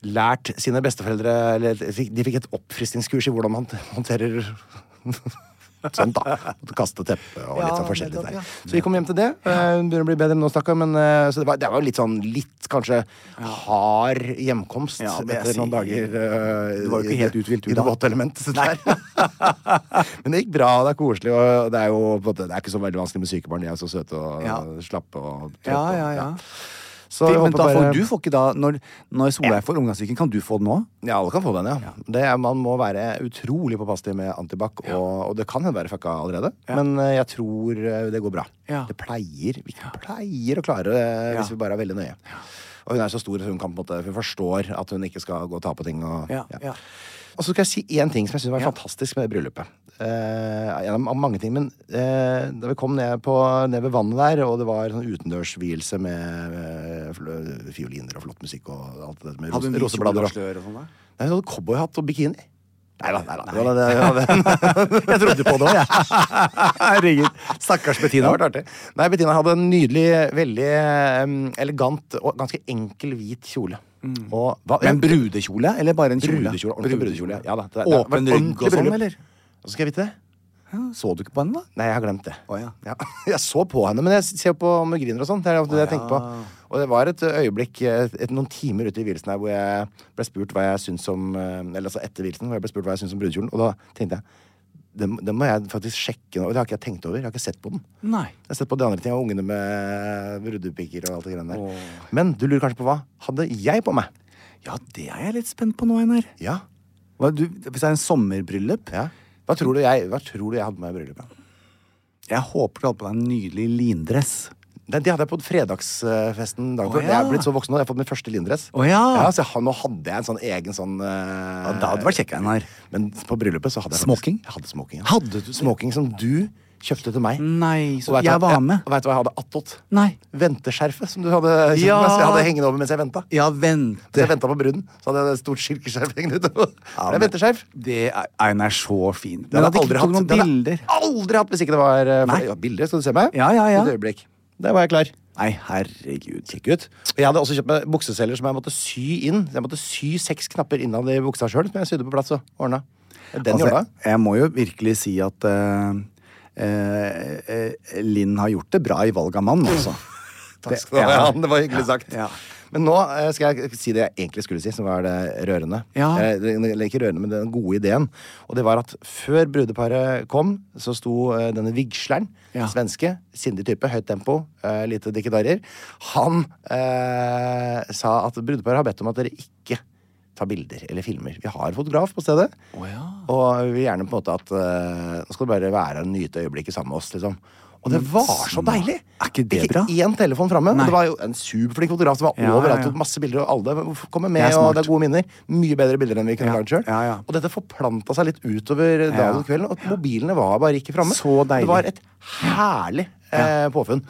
lært sine besteforeldre eller, fikk, De fikk et oppfriskningskurs i hvordan man håndterer Sånn, da. Måtte Kaste teppe og litt
Ja,
sånn forskjellig der.
nettopp, ja.
Så vi kom hjem til det. Eh, Hun begynner å bli bedre nå, stakkar. Men eh, så det var, det var jo litt sånn litt kanskje hard hjemkomst
Ja, det
etter
jeg
noen
sier.
dager. eh,
Du var jo ikke
i-
helt uthvilt, du
I det
da.
våte elementet. der. men det gikk bra, det er koselig, og det er jo på en måte, det er ikke så veldig vanskelig med syke barn. De er jo så søte og
Ja.
slappe og trøtte.
Ja, ja,
og-
ja.
Så
Fint,
jeg
men
håper
da får
bare-
du får ikke da Når, når Solveig får omgangssyken, kan du få den nå?
Ja, alle kan få den, ja. Det er, man må være utrolig påpasselig med antibac, og, og det kan hende være fucka allerede, men eh, jeg tror eh, det går bra.
Ja.
Det pleier Vi pleier å klare det
Ja.
hvis vi bare er veldig nøye. Og hun er så stor, så hun, kan, på en måte, hun forstår at hun ikke skal gå og ta på ting. Og,
Ja, ja.
og så skal jeg si én ting som jeg syns var fantastisk med det bryllupet. Eh, en av mange ting, men eh, da vi kom ned, på, ned ved vannet der, og det var sånn utendørsvielse med eh, fl- fioliner og flott musikk og alt det der med
Hadde hun
ros- roseblader og
slør og sånn da?
Nei, hun hadde cowboyhatt og bikini. Nei da, nei da. Det var det- det var det- Jeg trodde på det òg, jeg.
Herregud. Stakkars
Det
Bettina.
har vært artig. Nei, Bettina hadde en nydelig, veldig em, elegant og ganske enkel hvit kjole. Og hva-
Mm. Men brudekjole, eller bare en kjole?
Brudekjole, ordentlig brudekjole. Ja da, det- det har vært
Åpen rygg
ordentlig
og sånn,
bryllup.
eller?
Så skal jeg vite det.
Så du ikke på den, da?
Nei, jeg har glemt det.
Å, ja.
Jeg så på henne, men jeg ser på om hun griner og sånn. Det er ofte det jeg tenker på. Og det var et øyeblikk, et, et, noen timer ute i vielsen her, hvor jeg ble spurt hva jeg syns om eh, Eller altså etter vielsen, hvor jeg ble spurt hva jeg syns om brudekjolen. Og da tenkte jeg det, må- det må jeg faktisk sjekke nå. Det har ikke jeg tenkt over. Jeg har ikke sett på den.
Nei.
Jeg har sett på de andre tingene, og ungene med ruddepiker og alt det greiene der. Men du lurer kanskje på hva hadde jeg på meg?
Ja, det er jeg litt spent på nå, Einar.
Ja.
Hva, du, hvis det er en sommerbryllup
ja. Hva tror du jeg, hva tror du jeg hadde på meg i bryllupet?
Jeg håper du hadde på deg en nydelig lindress.
Det, det hadde jeg på fredagsfesten. dagen før.
Å,
Jeg er
ja.
blitt så voksen nå. Jeg har fått min første lindress.
Å, ja.
så jeg, har- nå hadde jeg en sånn egen sånn eh,
Ah. Ja, da hadde det vært kjekkere enn her.
Men på bryllupet så hadde jeg
Smoking?
faktisk- Jeg hadde smoking, ja.
Hadde du det?
Smoking som du kjøpte til meg.
Nei,
Og
så
vet du
jeg
hva-
var
ja,
med.
Og vet du hva jeg hadde attåt?
Nei.
Venteskjerfet som du hadde, kjøpt
Ja.
mens jeg hadde hengende over mens jeg venta.
Ja, vent.
Mens jeg venta på bruden, så hadde jeg et stort silkeskjerf hengende utover. det er
Ja, men-
venteskjerf.
Det er, Einar er så fin.
Det
Men
hadde
at de
jeg
ikke
aldri
tok
hatt.
noen
Det hadde jeg
bilder.
Aldri hatt hvis ikke det var eh, for,
Nei.
ja, Bilder, skal du se meg?
Ja, ja, ja.
Et øyeblikk. Der var jeg klar.
Nei, herregud.
Kjekk ut. Og jeg hadde også kjøpt meg bukseseller som jeg måtte sy inn. Så Jeg måtte sy seks knapper innad i buksa sjøl, som jeg sydde på plass og ordna. Den
Altså,
gjorde
jeg,
jeg.
jeg må jo virkelig si at eh, eh, eh, Linn har gjort det bra i valg av mann, altså.
Takk skal du ha,
ja.
Jan. Det var hyggelig
Ja,
sagt.
ja.
Men nå eh, skal jeg si det jeg egentlig skulle si, som var det rørende.
Ja.
Eh, det- Eller ikke rørende, men den gode ideen. Og det var at før brudeparet kom, så sto eh, denne vigsleren,
Ja.
svenske, sindig type, høyt tempo, eh, lite dikkedarer, han eh, sa at brudeparet har bedt om at dere ikke tar bilder eller filmer. Vi har fotograf på stedet. Og vi vil gjerne på en måte at eh, nå skal du bare være og nyte øyeblikket sammen med oss, liksom. Og det var
sånn,
så deilig!
Er ikke det bra?
én telefon framme.
Nei.
Det var jo en superflink fotograf som var
Ja, ja,
overalt.
ja.
tok Masse bilder, og alle kommer med,
Det er
og
smart.
det er gode minner. Mye bedre bilder enn vi kunne
Ja,
lagd sjøl.
ja, ja.
Og dette forplanta seg litt utover dagen og kvelden, og mobilene var bare ikke framme.
Så deilig.
Det var et herlig eh, påfunn.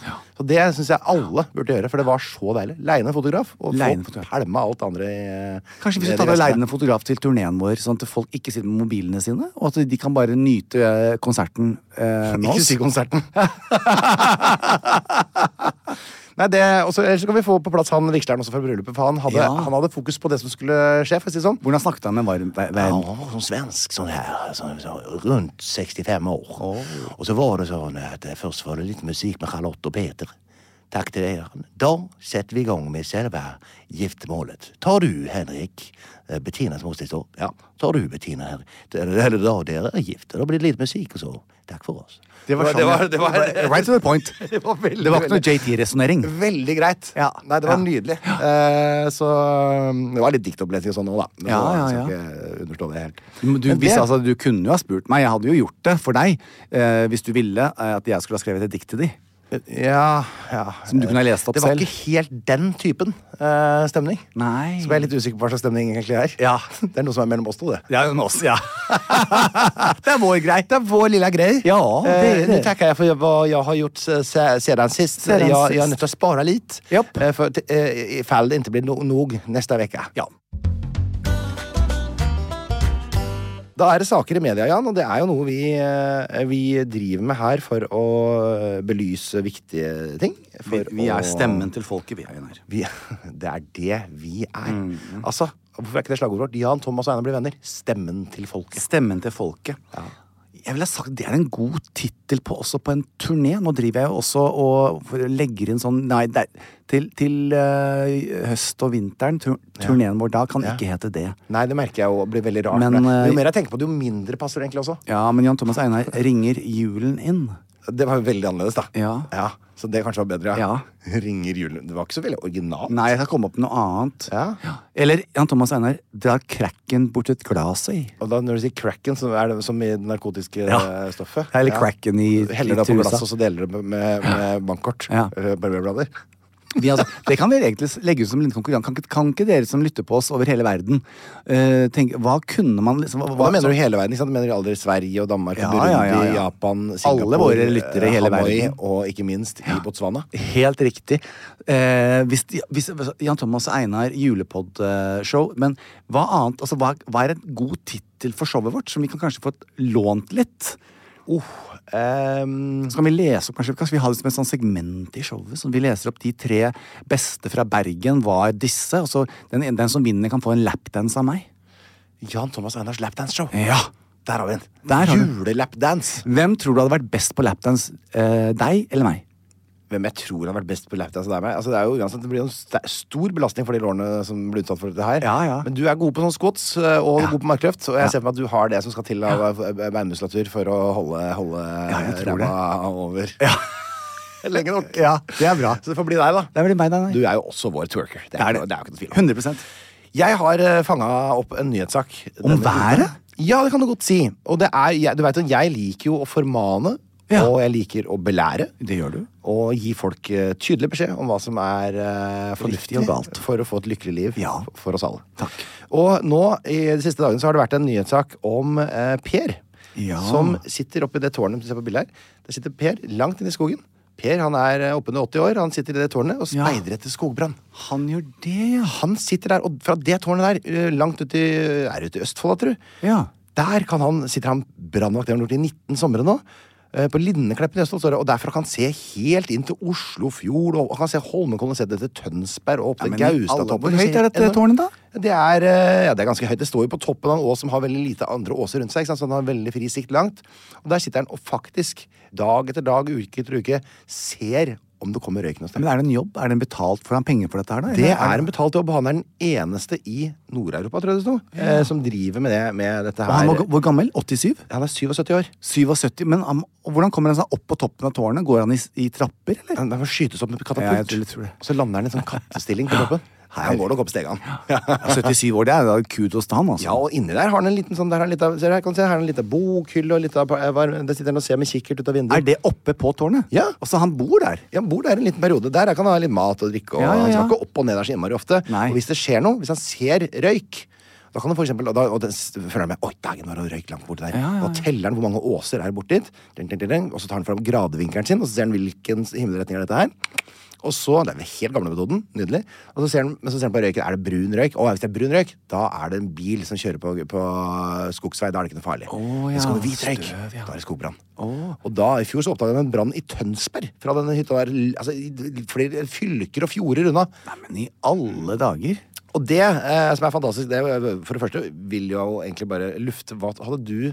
Så det syns jeg alle burde gjøre, for det var så deilig. Leie en fotograf, og
Leie en
få
fotograf.
pælma alt det andre i eh,
Kanskje vi skal ta
ned i
med
resten.
leidende fotograf til turneen vår, sånn at folk ikke sitter med mobilene sine, og at de kan bare nyte eh, konserten eh, med
Ikke
oss.
si konserten. Nei, det, også, ellers så kan vi få på plass han Vikstern også fra bryllupet, for han hadde,
Ja.
han hadde fokus på det som skulle skje. for å si det sånn.
Hvordan snakket han med varm ver- ver-
Ja, han var sånn svensk, sånn her, sånn, sånn, rundt 65 år. Og så var det sånn at eh, først var det litt musikk med Charlotte og Peter. Takk til dere. Da setter vi i gang med selve giftermålet. Tar du, Henrik eh, Bettina, som også står. Ja, tar du, Bettina, her. Eller da dere er gift. Da blir det litt musikk, og så takk for oss.
Det var sånn, ja. Right to the point.
Det var veldig,
Det var ikke noe
veldig-
JT-resonnering.
Veldig greit.
Ja.
Nei, det var
Ja.
nydelig. Eh, så um, Det var litt diktopplesning og sånn òg, da. Det
Ja,
var-
ja,
skal
ja.
ikke understå det helt.
Du, du,
Men
hvis,
det-
altså, du kunne jo ha spurt meg. Jeg hadde jo gjort det for deg eh, hvis du ville eh, at jeg skulle ha skrevet et dikt til deg.
Ja, ja.
Som du kunne ha lest opp
Det var
selv.
ikke helt den typen eh, stemning.
Nei.
Så ble jeg litt usikker på hva slags stemning egentlig er.
Ja.
Det er noe som er mellom oss to, det.
Ja, men også, ja. det er vår grei.
Det er vår lille greie.
Ja, det er
Eh,
det.
Nu tackar jag för vad jag har gjort eh, se- sedan sist.
Sedan
jag,
sist.
jag är nöjd att spara lite.
Japp.
eh, För, att, eh, ifall det inte blir no nog nästa vecka.
Ja.
Da er det saker i media, Jan, og det er jo noe vi, eh, vi driver med her for å eh, belyse viktige ting.
Vi,
For
vi
å-
er stemmen til folket, vi er igjen her.
Vi, det er det vi er.
Mm.
Altså, Hvorfor er ikke det slagordet vårt? Jan, Thomas og Einar blir venner. Stemmen til folket.
Stemmen til folket. Jeg ville ha sagt Det er en god tittel på, også på en turné. Nå driver jeg jo også og for- legger inn sånn Nei, det er, til, til eh, høst og vinteren. Tur, turneen vår da kan ikke hete det.
Nei, det merker jeg jo blir veldig rart.
Men,
Men,
eh,
jo mer jeg tenker på det, jo mindre passer det egentlig også.
Ja, men Jan Thomas Einar ringer julen inn.
Det var jo veldig annerledes, da.
Ja.
Så det kanskje var bedre.
Ja.
Ringer julen Det var ikke så veldig originalt.
Nei, jeg skal komme opp med noe annet.
Ja.
Eller Jan Thomas Einar drar krakken bort et glass i.
Og da når du sier cracken, så er det som i det narkotiske
Ja.
eh, stoffet.
Eller cracken i- i
Heller det på
trusa.
glass, og så deler det med, med, med bankkort.
Ja.
Eh, Barberblader.
Vi, altså, det kan vi egentlig s- legge ut som en liten konkurranse. Kan, ikke- kan ikke dere som lytter på oss over hele verden, eh, tenke Hva kunne man liksom
Hva mener du hele verden? Ikke sant? Mener du aldri Sverige og Danmark,
Ja,
og Burundi,
ja, ja, ja.
Japan, Singapore,
Alle våre lyttere i
eh,
hele
Hanoi,
verden.
og ikke minst i Botswana?
Helt riktig. Eh, hvis, de- hvis, hvis Jan Thomas Einar julepod-show. Men hva annet altså, hva, hva er en god tittel for showet vårt, som vi kan kanskje få lånt litt? Oh,
Ehm,
Så kan vi lese opp, kanskje, kanskje vi har det som et sånt segment i showet. Så vi leser opp de tre beste fra Bergen var disse. Og så den, den som vinner, kan få en lapdance av meg.
Jan Thomas Einars lapdance-show.
Ja.
Der har vi den.
Der har du den.
Julelapdance.
Hvem tror du hadde vært best på lapdance? Eh, deg eller meg?
Hvem jeg tror har vært best på lapdance av deg og meg. Altså, det, er jo, uansett, det blir jo en st stor belastning for de lårene som blir utsatt for dette her.
Ja, ja.
Men du er god på sånn squats eh, og god på markløft, og jeg ser for meg at du har det som skal til av eh, beinmuskulatur for å holde, holde
Ja, jeg tror
ræva over lenge nok.
Ja, det er bra.
Så det får bli deg, da.
Det er vel meg,
Du
da.
er jo også vår twerker. Det er, det er, det er jo ikke noe tvil om.
100
Jeg har uh, fanga opp en nyhetssak.
Om
denne
været?
uka. Ja, det kan du godt si. Og det er, jeg, du vet, at jeg liker jo å formane,
Ja.
og jeg liker å belære.
Det gjør du.
Og gi folk eh, tydelig beskjed om hva som er eh, fornuftig
og galt.
for å få et lykkelig liv
Ja.
for oss alle.
Takk.
Og nå i de siste dagene så har det vært en nyhetssak om eh, Per.
Ja.
Som sitter oppe i det tårnet du ser på bildet her. Der sitter Per langt inne i skogen. Per han er eh, oppunder 80 år. Han sitter i det tårnet og
Ja.
speider etter skogbrann.
Han gjør det, ja.
Han sitter der, og fra det tårnet der, eh, langt ut i, er det ute i Østfold, da, tror du?
Ja.
Der kan han, sitter han brannvakt, det har han gjort i 19 somre nå. eh, På Linnekleppen i Østfold, står det, og derfra kan han se helt inn til Oslofjord, og han kan se Holmenkollen, og se det til Tønsberg og opp til
men i alle-
Gaustatoppen.
hvor høyt er dette
Enormt.
tårnet da?
Det er, eh, ja, det er ganske høyt. Det står jo på toppen av en ås som har veldig lite andre åser rundt seg, ikke sant? så han har veldig fri sikt langt. Og der sitter han og faktisk, dag etter dag, uke etter uke, ser om det kommer røyk noe sted.
Men er det en jobb? Er det en betalt? Får han penger for dette her, da?
Det
eller
er en betalt jobb. Han er den eneste i Nord-Europa, tror jeg det sto, eh, som driver med, det, med dette
Og han
her.
var, hvor gammel? 87?
Han er 77 år.
77, men han, og hvordan kommer han seg opp på toppen av tårnet? Går han i, s- i trapper, eller?
Han, han skytes opp med
Ja,
katapult.
jeg tror- jeg tror det.
og så lander han i en sånn kattestilling på toppen. Nei, han går nok opp stegene.
Ja, 77 år, det er da kudos til han, altså.
Ja, og inni der har han en liten sånn der har han litt av, ser du her, kan du se, her har han en liten bokhylle og litt av, eh, var- Der sitter han og ser med kikkert ut av vinduet.
Er det oppe på tårnet?
Ja.
Altså, han bor der.
Ja, han bor der en liten periode. Der kan han ha litt mat og drikke. Og
Ja, ja,
Han
ja.
skal ikke opp og ned der så innmari ofte.
Nei.
Og hvis det skjer noe, hvis han ser røyk Da kan du for eksempel, og da, og den, s- føler jeg med Oi, dagen var det røyk langt borti der. Og teller den hvor mange åser er borti dit. Ding, ding, ding, ding. Og så tar den fram gradevinkelen sin, og så ser den hvilken himmelretning er dette her. Og så, Det er den helt gamle metoden. Nydelig. Og så ser den, men så ser den på røyken. Er det brun røyk? Å, hvis det er brun røyk, da er det en bil som kjører på, på skogsvei. Da er det ikke noe farlig.
Å,
Men
ja,
skal det hvit røyk,
støv, ja.
da er det skogbrann. Og da, i fjor så oppdaga de en brann i Tønsberg. Fra denne hytta der. l- Altså, i- flere fylker og fjorder unna.
Men i alle dager
Og det eh, som er fantastisk, det eh, for det første vil jeg jo egentlig bare lufte Hva hadde du,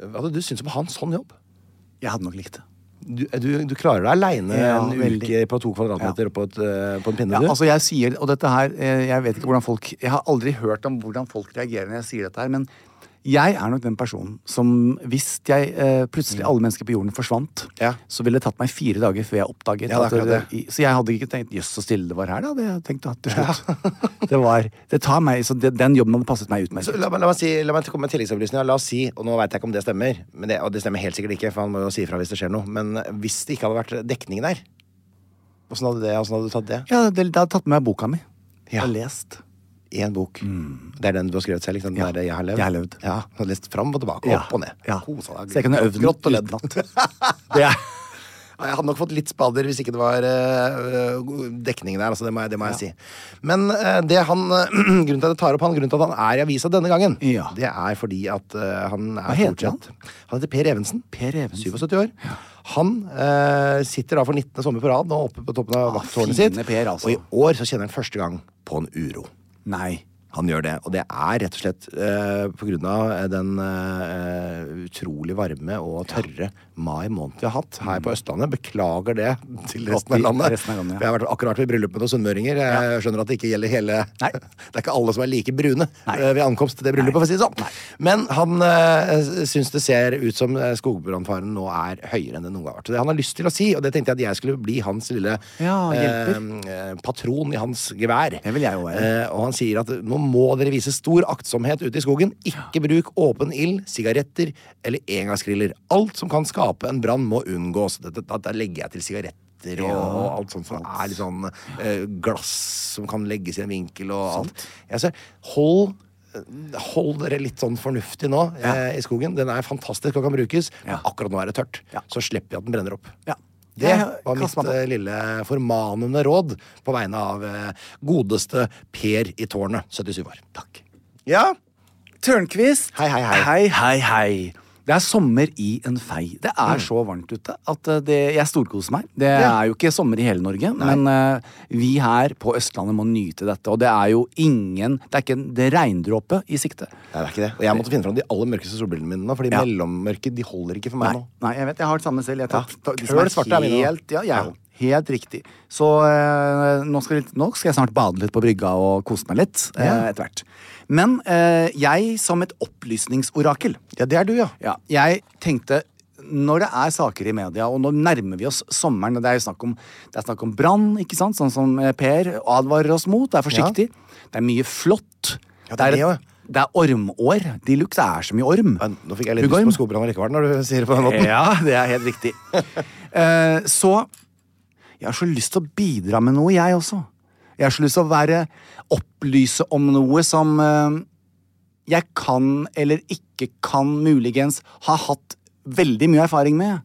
hva hadde du syntes om hans sånn jobb?
Jeg hadde nok likt det.
Du, eh, du, du klarer deg aleine
Ja,
en
veldig.
uke på to kvadratmeter på, et, eh, på en pinne,
Ja,
du?
altså jeg sier, og dette her, eh, jeg vet ikke hvordan folk Jeg har aldri hørt om hvordan folk reagerer når jeg sier dette her, men jeg er nok den personen som hvis jeg eh, plutselig alle mennesker på jorden forsvant,
Ja.
så ville det tatt meg fire dager før jeg
Ja,
oppdaget
det er
at
akkurat
i- Så jeg hadde ikke tenkt 'jøss, så stille det var her', da. Det hadde jeg tenkt å ha til slutt. det var Det tar meg Så det, den jobben hadde passet meg
Så
utmerket.
la, meg- la, meg si, la meg komme med tilleggsopplysninger. La oss si, og nå veit jeg ikke om det stemmer, men det, og det stemmer helt sikkert ikke, for han må jo si ifra hvis det skjer noe, men hvis det ikke hadde vært dekning der, åssen hadde, det- hvordan hadde du tatt det?
Ja, det, det hadde tatt med meg boka mi.
Ja.
Jeg har lest.
Én bok. Det er den du har skrevet selv? Liksom, den
Mm. Ja.
der, jeg har levd.
Jeg har levd.
Ja, du har lest fram og tilbake,
Ja.
opp og ned.
Ja.
Kosa deg.
Så jeg kunne øvd den
Grått og ledd.
utenat. Det er
Ja, Jeg hadde nok fått litt spader hvis ikke det var eh, øh, dekning der. Altså det må jeg, det må jeg si. Men eh, det han, eh, grunnen til at jeg tar opp han, grunnen til at han er i avisa denne gangen,
Ja.
det er fordi at eh, han er
Hva heter
stort sett- Han heter Per Evensen.
Per Evensen.
77 år. Han eh, sitter da for 19. sommer på rad nå oppe på toppen av vakttårnet sitt.
Ah, fine Per, altså.
Og i år så kjenner han første gang på en uro.
Nei.
Han gjør det, og det er rett og slett eh, på grunn av eh, den eh, utrolig varme og tørre mai måned vi har hatt her på Østlandet. Beklager det til resten av
Til
landet.
Mm. resten av landet, ja.
For Jeg har vært, akkurat vært i bryllup med noen sunnmøringer. Jeg skjønner at det ikke gjelder hele
Nei.
Det er ikke alle som er like brune
Nei.
eh, ved ankomst til det bryllupet, for å si det sånn. Men han eh, syns det ser ut som eh, skogbrannfaren nå er høyere enn det noen gang har vært. Så Det han har lyst til å si, og det tenkte jeg at jeg skulle bli hans lille
Ja, hjelper.
eh, patron i hans gevær.
Det vil jeg jo være.
Eh, og han sier at nå må dere vise stor aktsomhet ute i skogen. Ikke bruk åpen ild, sigaretter eller engangsgriller. Alt som kan skape en brann, må unngås. Dette, da, da legger jeg til sigaretter og, og alt sånt som er litt sånn eh, glass som kan legges i en vinkel og alt. Jeg ser, hold Hold dere litt sånn fornuftig nå eh, i skogen. Den er fantastisk og kan brukes. Men akkurat nå er det tørt.
Ja.
Så slipper vi at den brenner opp.
Ja.
Det
Jeg
var mitt
kaster meg på.
eh, lille formanende råd på vegne av eh, godeste Per i tårnet, 77 år. Takk. Ja,
Tørnquist.
Hei, hei, hei.
Hei, hei, hei. Det er sommer i en fei. Det er så varmt ute at eh, det, jeg storkoser meg. Det
Mm. Ja.
er jo ikke sommer i hele Norge, men eh, vi her på Østlandet må nyte dette. Og det er jo ingen Det er ikke en det er regndråpe i sikte.
det er ikke det. Og jeg måtte finne fram de aller mørkeste solbrillene mine nå, fordi
Ja.
mellommørke de holder ikke for meg
Nei,
nå.
nei, jeg vet. Jeg har det samme selv. Jeg tar,
Ja.
tar, de
Køl
som er
svarte er mine nå.
helt, ja, jeg, òg. helt riktig. Så eh, nå, skal, jeg- nå skal jeg snart bade litt på brygga og kose meg litt eh, etter hvert. Men eh, jeg som et opplysningsorakel
Ja, det er du, ja.
Ja, jeg tenkte når det er saker i media, og nå nærmer vi oss sommeren og Det er jo snakk om, det er snakk om brann, ikke sant? sånn som eh, Per advarer oss mot. Det er forsiktig. Det er mye flått.
Ja, det er det også.
det er ormår. De lukter er så mye orm.
Men Nå fikk jeg litt
Hugo
lyst
Orm.
på skogbrann likevel når du sier det på den måten.
Ja, det er helt riktig. Eh, så Jeg har så lyst til å bidra med noe, jeg også. Jeg har så lyst til å være opplyse om noe som eh, jeg kan eller ikke kan muligens ha hatt veldig mye erfaring med.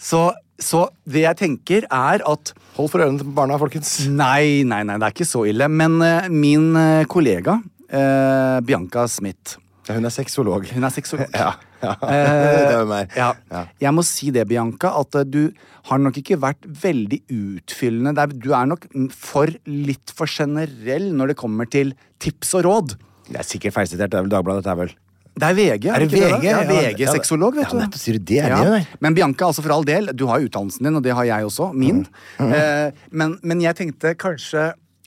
Så, så det jeg tenker, er at
Hold for ørene til barna, folkens.
Nei, nei, nei, det er ikke så ille. Men eh, min eh, kollega eh, Bianca Smith
Ja, hun er sexolog.
hun er seksolog.
Ja, ja.
Eh,
Det er hun er.
Ja.
Ja.
Jeg må si det, Bianca, at eh, du har nok ikke vært veldig utfyllende. Det er- Du er nok mm, for litt for generell når det kommer til tips og råd.
Det er sikkert feilsitert. Det er vel Dagbladet, dette er vel.
Det er VG.
Er det
ikke
VG?
Ja,
Ja, ja,
VG-sexolog,
ja,
vet du.
nettopp, sier du det, er det, nei?
Men Bianca, altså for all del, du har jo utdannelsen din, og det har jeg også. Min.
Mm.
Eh, men, men jeg tenkte kanskje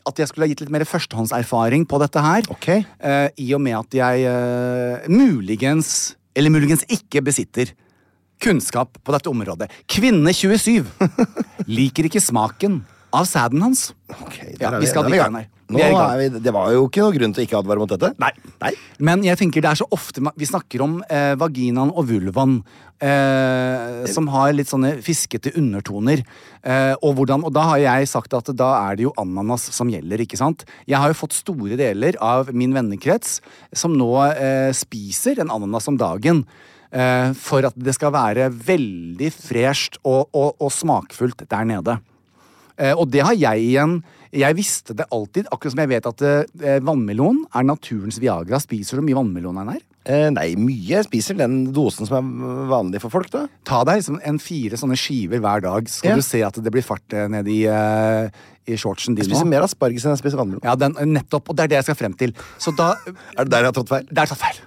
at jeg skulle ha gitt litt mer førstehåndserfaring på dette her.
Ok.
Eh, I og med at jeg eh, muligens, eller muligens ikke, besitter kunnskap på dette området. Kvinne 27 liker ikke smaken av sæden hans.
Ok, der
Ja,
er
vi skal
der er
dit,
i gang.
Einar. Vi
Nå
er i gang.
er vi, det var jo ikke noe grunn til å ikke advare mot dette. Nei.
Men jeg tenker det er så ofte ma- vi snakker om eh, vaginaen og vulvaen. Eh, som har litt sånne fiskete undertoner. Eh, og, hvordan, og da har jeg sagt at da er det jo ananas som gjelder, ikke sant? Jeg har jo fått store deler av min vennekrets som nå eh, spiser en ananas om dagen. Eh, for at det skal være veldig fresht og, og, og smakfullt der nede. Eh, og det har jeg igjen. Jeg visste det alltid, akkurat som jeg vet at eh, vannmelon er naturens Viagra. Spiser du mye vannmelon, Einar?
Eh, nei, mye spiser den dosen som er vanlig for folk, da.
Ta deg liksom en fire sånne skiver hver dag, så skal
Ja.
du se at det blir fart eh, ned i, eh, i shortsen din
Jeg spiser
nå.
mer asparges enn jeg spiser vannmelon.
Ja, den, nettopp. Og det er det jeg skal frem til. Så da
Er det der jeg har tatt feil? Ah.
Det er tatt feil.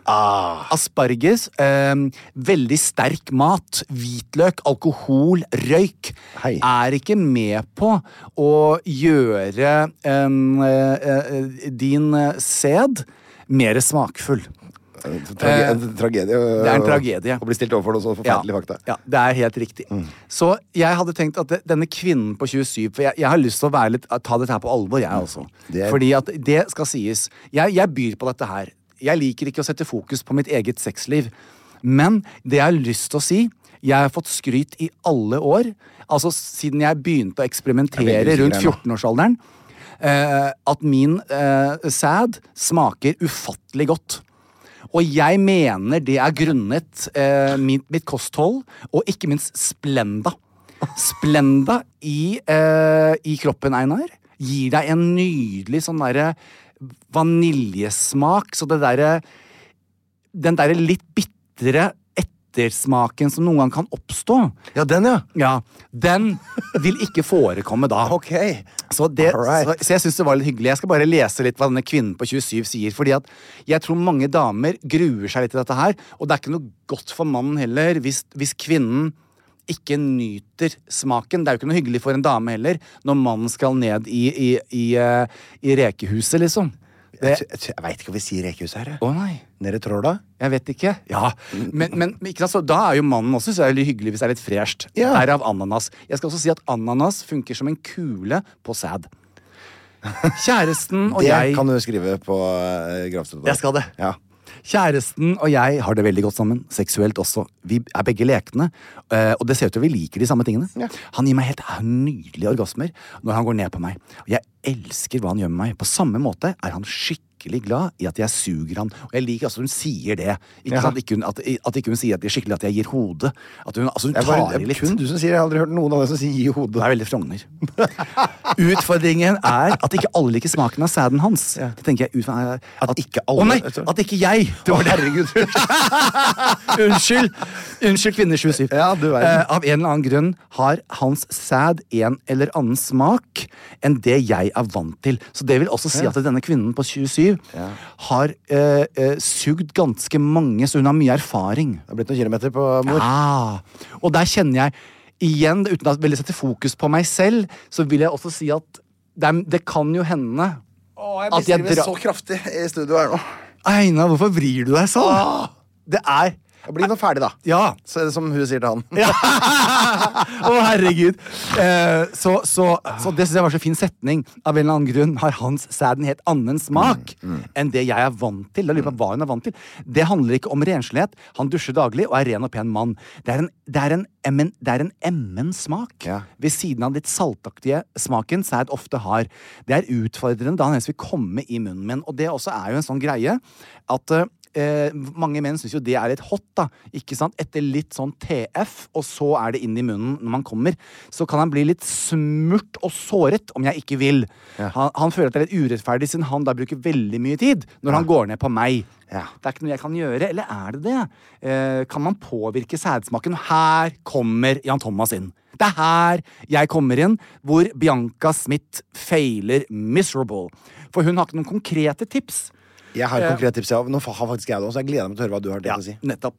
Asparges, eh, veldig sterk mat, hvitløk, alkohol, røyk
Hei.
er ikke med på å gjøre em, eh, eh, din eh, sæd mer smakfull.
En trage- Eh, en tragedie. å-
det er en tragedie.
Å bli stilt overfor noe så forferdelig fakta. Mm.
Ja, det er helt riktig. Så jeg hadde tenkt at det- denne kvinnen på 27 For jeg, jeg har lyst til å være litt, ta dette her på alvor, jeg også.
Mm. Det er-
Fordi at det skal sies. Jeg, jeg byr på dette her. Jeg liker ikke å sette fokus på mitt eget sexliv. Men det jeg har lyst til å si Jeg har fått skryt i alle år. Altså siden jeg begynte å
Jeg er
eksperimentere
veldig
rundt
usikker her nå.
14-årsalderen. Eh, at min eh, sæd smaker ufattelig godt. Og jeg mener det er grunnet eh, mitt, mitt kosthold, og ikke minst Splenda. Splenda i, eh, i kroppen, Einar, gir deg en nydelig sånn derre vaniljesmak. Så det derre Den derre litt bitre ettersmaken som noen gang kan oppstå,
Ja, den, ja.
ja, den vil ikke forekomme da.
Ok.
Så, det,
Alright.
så, så jeg syns det var litt hyggelig. Jeg skal bare lese litt hva denne kvinnen på 27 sier. Fordi at jeg tror mange damer gruer seg litt til dette her. Og det er ikke noe godt for mannen heller hvis, hvis kvinnen ikke nyter smaken. Det er jo ikke noe hyggelig for en dame heller når mannen skal ned i, i, i, eh, i rekehuset, liksom. Det,
Jeg, jeg, jeg veit ikke hva vi sier i rekehuset her. jeg.
å nei.
Nede i tråla.
Jeg vet ikke. Ja, Men, men men ikke sant? Så da er jo mannen også så er det veldig hyggelig hvis det er litt fresht.
Ja.
Derav ananas. Jeg skal også si at ananas funker som en kule på sæd. Kjæresten og
det
jeg
kan du skrive på uh, gravstedet.
Jeg skal det.
Ja.
Kjæresten og jeg har det veldig godt sammen, seksuelt også. Vi er begge lekne, eh, og det ser ut til at vi liker de samme tingene. Han gir meg helt nydelige orgasmer når han går ned på meg. Og jeg elsker hva han gjør med meg. På samme måte er han skikkelig glad i at jeg suger han. Og jeg liker altså hun sier det. Ikke sant? Ikke hun, at, at ikke hun sier at det er skikkelig at jeg gir hodet. At hun, altså hun
Jeg bare,
tar
det
i
er
litt.
kun du som sier Jeg har aldri hørt noen andre som sier gi hodet.
Det er veldig Frogner. Utfordringen er at ikke alle liker smaken av sæden hans. Det tenker jeg utfordringen er
At ikke alle-
Å nei! At ikke jeg! Det var det. Unnskyld! Unnskyld, kvinne 27.
Ja, du verden.
Eh, av en eller annen grunn har hans sæd en eller annen smak enn det jeg er vant til. Så det vil også si at denne kvinnen på 27 har eh, eh, sugd ganske mange, så hun har mye erfaring.
Det har blitt noen kilometer på mor.
Ah, og der kjenner jeg igjen, uten å veldig sette fokus på meg selv, så vil jeg også si at det, er, det kan jo hende at jeg drar
kraftig i studio her nå.
Einar, hvorfor vrir du deg sånn? Det er
Bli nå ferdig, da.
Ja.
Så er det som hun sier til han.
Ja. Å, herregud. Eh, så, så, så det syns jeg var så fin setning. Av en eller annen grunn har hans sæd en helt annen smak enn det jeg er vant til. Da lurer jeg på hva hun er vant til. Det handler ikke om renslighet. Han dusjer daglig og er ren og pen mann. Det er en, det er en, emmen- det er en emmen smak.
Ja.
Ved siden av den litt saltaktige smaken sæd ofte har. Det er utfordrende da han helst vil komme i munnen min. Og det også er jo en sånn greie at eh, Eh, mange menn syns jo det er litt hot, da. Ikke sant? Etter litt sånn TF, og så er det inn i munnen når man kommer. Så kan han bli litt smurt og såret om jeg ikke vil. Han, han føler at det er litt urettferdig, siden han da bruker veldig mye tid når han går ned på meg.
Ja.
Det er ikke noe jeg kan gjøre, eller er det det? Eh, kan man påvirke sædsmaken? Her kommer Jan Thomas inn. Det er her jeg kommer inn, hvor Bianca Smith feiler miserable. For hun har ikke noen konkrete tips.
Jeg har et konkret tips. Jeg. Nå har faktisk jeg det også. Jeg gleder meg til å høre hva du har til å si.
Nettopp.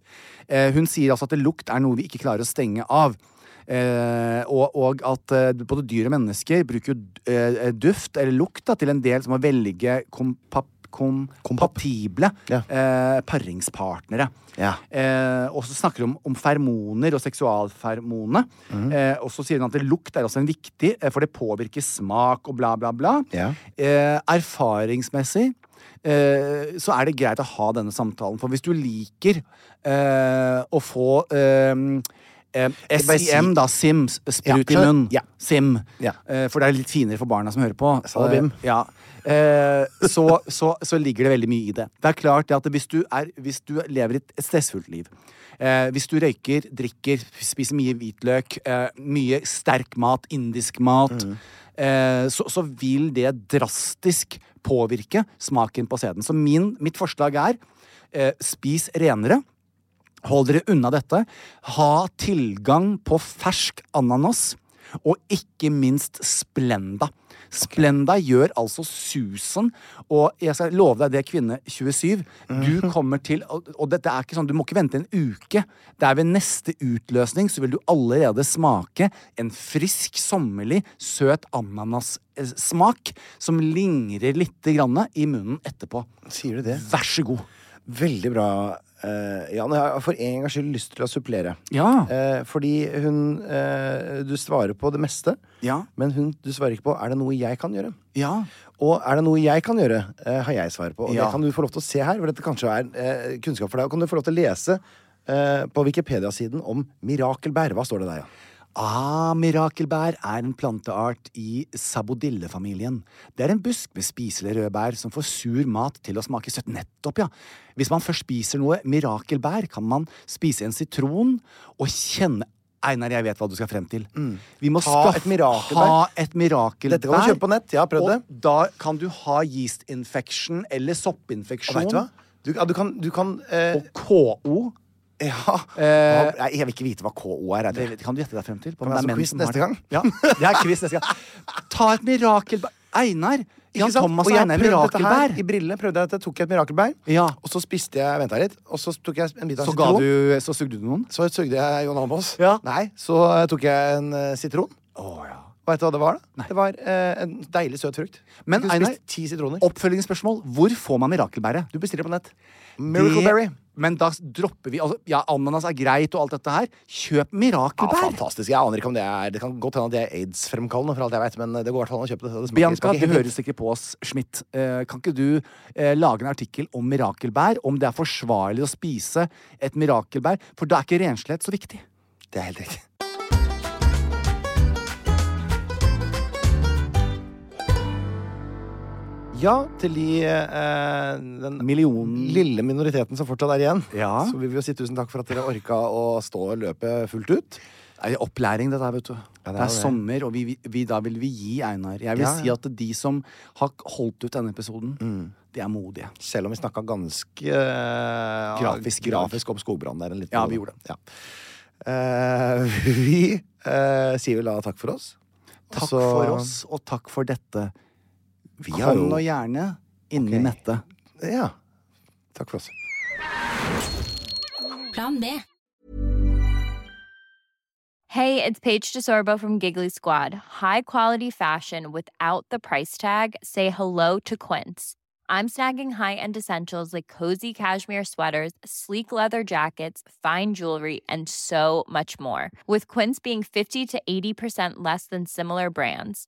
Eh, hun sier altså at lukt er noe vi ikke klarer å stenge av. Eh, og, og at eh, både dyr og mennesker bruker jo d- eh, duft, eller lukt, da, til en del som å velge kompap kompatible
Ja.
eh, paringspartnere.
Ja.
Eh, og så snakker hun om, om fermoner og seksualfermonene.
Mm.
Eh, og så sier hun at det lukt er også en viktig, eh, for det påvirker smak og bla, bla, bla.
Ja.
Eh, erfaringsmessig eh, så er det greit å ha denne samtalen. For hvis du liker eh, å få eh, eh,
bare si-
SIM, da. SIM.
Ja,
Sprut i munn.
ja.
SIM.
Ja.
Eh, for det er litt finere for barna som hører på.
sa det, Bim.
Eh, ja. Eh, så, så, så ligger det veldig mye i det. Det er klart det at hvis du, er, hvis du lever et et stressfullt liv eh, Hvis du røyker, drikker, spiser mye hvitløk, eh, mye sterk mat, indisk mat eh, så, så vil det drastisk påvirke smaken på sæden. Så min, mitt forslag er eh, spis renere. Hold dere unna dette. Ha tilgang på fersk ananas, og ikke minst Splenda. Splenda gjør altså susen, og jeg skal love deg det, kvinne 27.
Mhm.
Du kommer til Og og dette er ikke sånn, du må ikke vente en uke. Det er ved neste utløsning så vil du allerede smake en frisk, sommerlig, søt ananassmak som lingrer lite grann i munnen etterpå.
Sier du det?
Vær så god.
Veldig bra, eh, Jan. Jeg har for en gangs skyld lyst til å supplere.
Ja.
Eh, fordi hun eh, Du svarer på det meste,
Ja.
men hun du svarer ikke på er det noe jeg kan gjøre.
Ja.
Og er det noe jeg kan gjøre, eh, har jeg svar på. Og
Ja.
det kan du få lov til å se her, for dette kanskje er eh, kunnskap for deg. Og kan du få lov til å lese eh, på Wikipedia-siden om mirakelbær. Hva står det der, Jan?
Ah, mirakelbær er en planteart i sabodillefamilien. Det er en busk med spiselige røde bær som får sur mat til å smake søtt. Nettopp, ja. Hvis man først spiser noe mirakelbær, kan man spise en sitron og kjenne Einar, jeg vet hva du skal frem til. Vi må
Mm. Ta
skaffe-
et mirakelbær.
Ha et mirakelbær.
Dette kan du kjøpe på nett. Jeg har prøvd
og
det.
Da kan du ha yeast infection eller soppinfeksjon.
Og vet du hva? Du, ja, du kan, du kan eh,
Og KO.
Ja. hva- nei, jeg vil ikke vite hva KO er. jeg
Det
tror.
vet- kan du gjette deg frem til? På
Kan
om
det være
er menn
som
som har
quiz
det?
neste gang?
Ja, det er quiz neste gang. Ta et mirakelbær. Einar! Jan
Ikke sant?
Thomas
og
og
jeg
Einar
prøvde dette her
Mirakelbær.
i brillene. Prøvde jeg dette, tok jeg et mirakelbær,
Ja.
og så spiste jeg venta litt, og så tok jeg en bit av
Så ga
sitron.
du Så sugde du noen?
Så sugde jeg Jon Almaas.
Ja.
Nei, så eh, tok jeg en eh, sitron. Vet du hva det var? da? Det var eh, en deilig søt frukt.
Men,
jeg kunne
Einar-
spist ti sitroner.
Oppfølgingsspørsmål. Hvor får man mirakelbæret?
Du bestiller på nett.
Det-
Miracleberry.
Men da dropper vi altså, Ja, ananas er greit og alt dette her. Kjøp
Ja,
mirakelbær.
fantastisk. Jeg aner ikke om det er Det kan godt hende at det er aids-fremkallende, for alt jeg vet, men eh, det går i hvert fall an å kjøpe det. det. smaker-
Bianca,
smaker
du
helt fint.
hører sikkert på oss, Schmidt. Eh, kan ikke du eh, lage en artikkel om mirakelbær? Om det er forsvarlig å spise et mirakelbær? For da er ikke renslighet så viktig.
Det er helt riktig. Ja, til de eh, den
Millionen
lille minoriteten som fortsatt er igjen,
Ja.
så vil vi jo si tusen takk for at dere orka å stå og løpe fullt ut.
Det er opplæring, dette her, vet du. det,
det
er
er det.
sommer, og vi, vi- vi, da vil vi gi Einar. Jeg vil
Ja, Mm.
si
ja.
at de som har holdt ut denne episoden, de er modige.
Selv om vi snakka ganske eh,
Grafisk i dag.
grafisk om skogbrann der. en liten
Ja, vi
periode.
gjorde
Ja. Eh, vi eh, sier vel da takk for oss. Så-
Takk for oss, og takk for dette.
Vi har
Kom
jo
nå gjerne inni
Ok.
nettet.
Ja. Takk for oss.
Plan B.
Hey, it's Paige DeSorbo from Giggly Squad. High quality fashion without the price tag. Say hello to Quince. I'm snagging high-end essentials like cozy cashmere sweaters, sleek leather jackets, fine jewelry, and so much more. With Quince being 50 to 80% less than similar brands.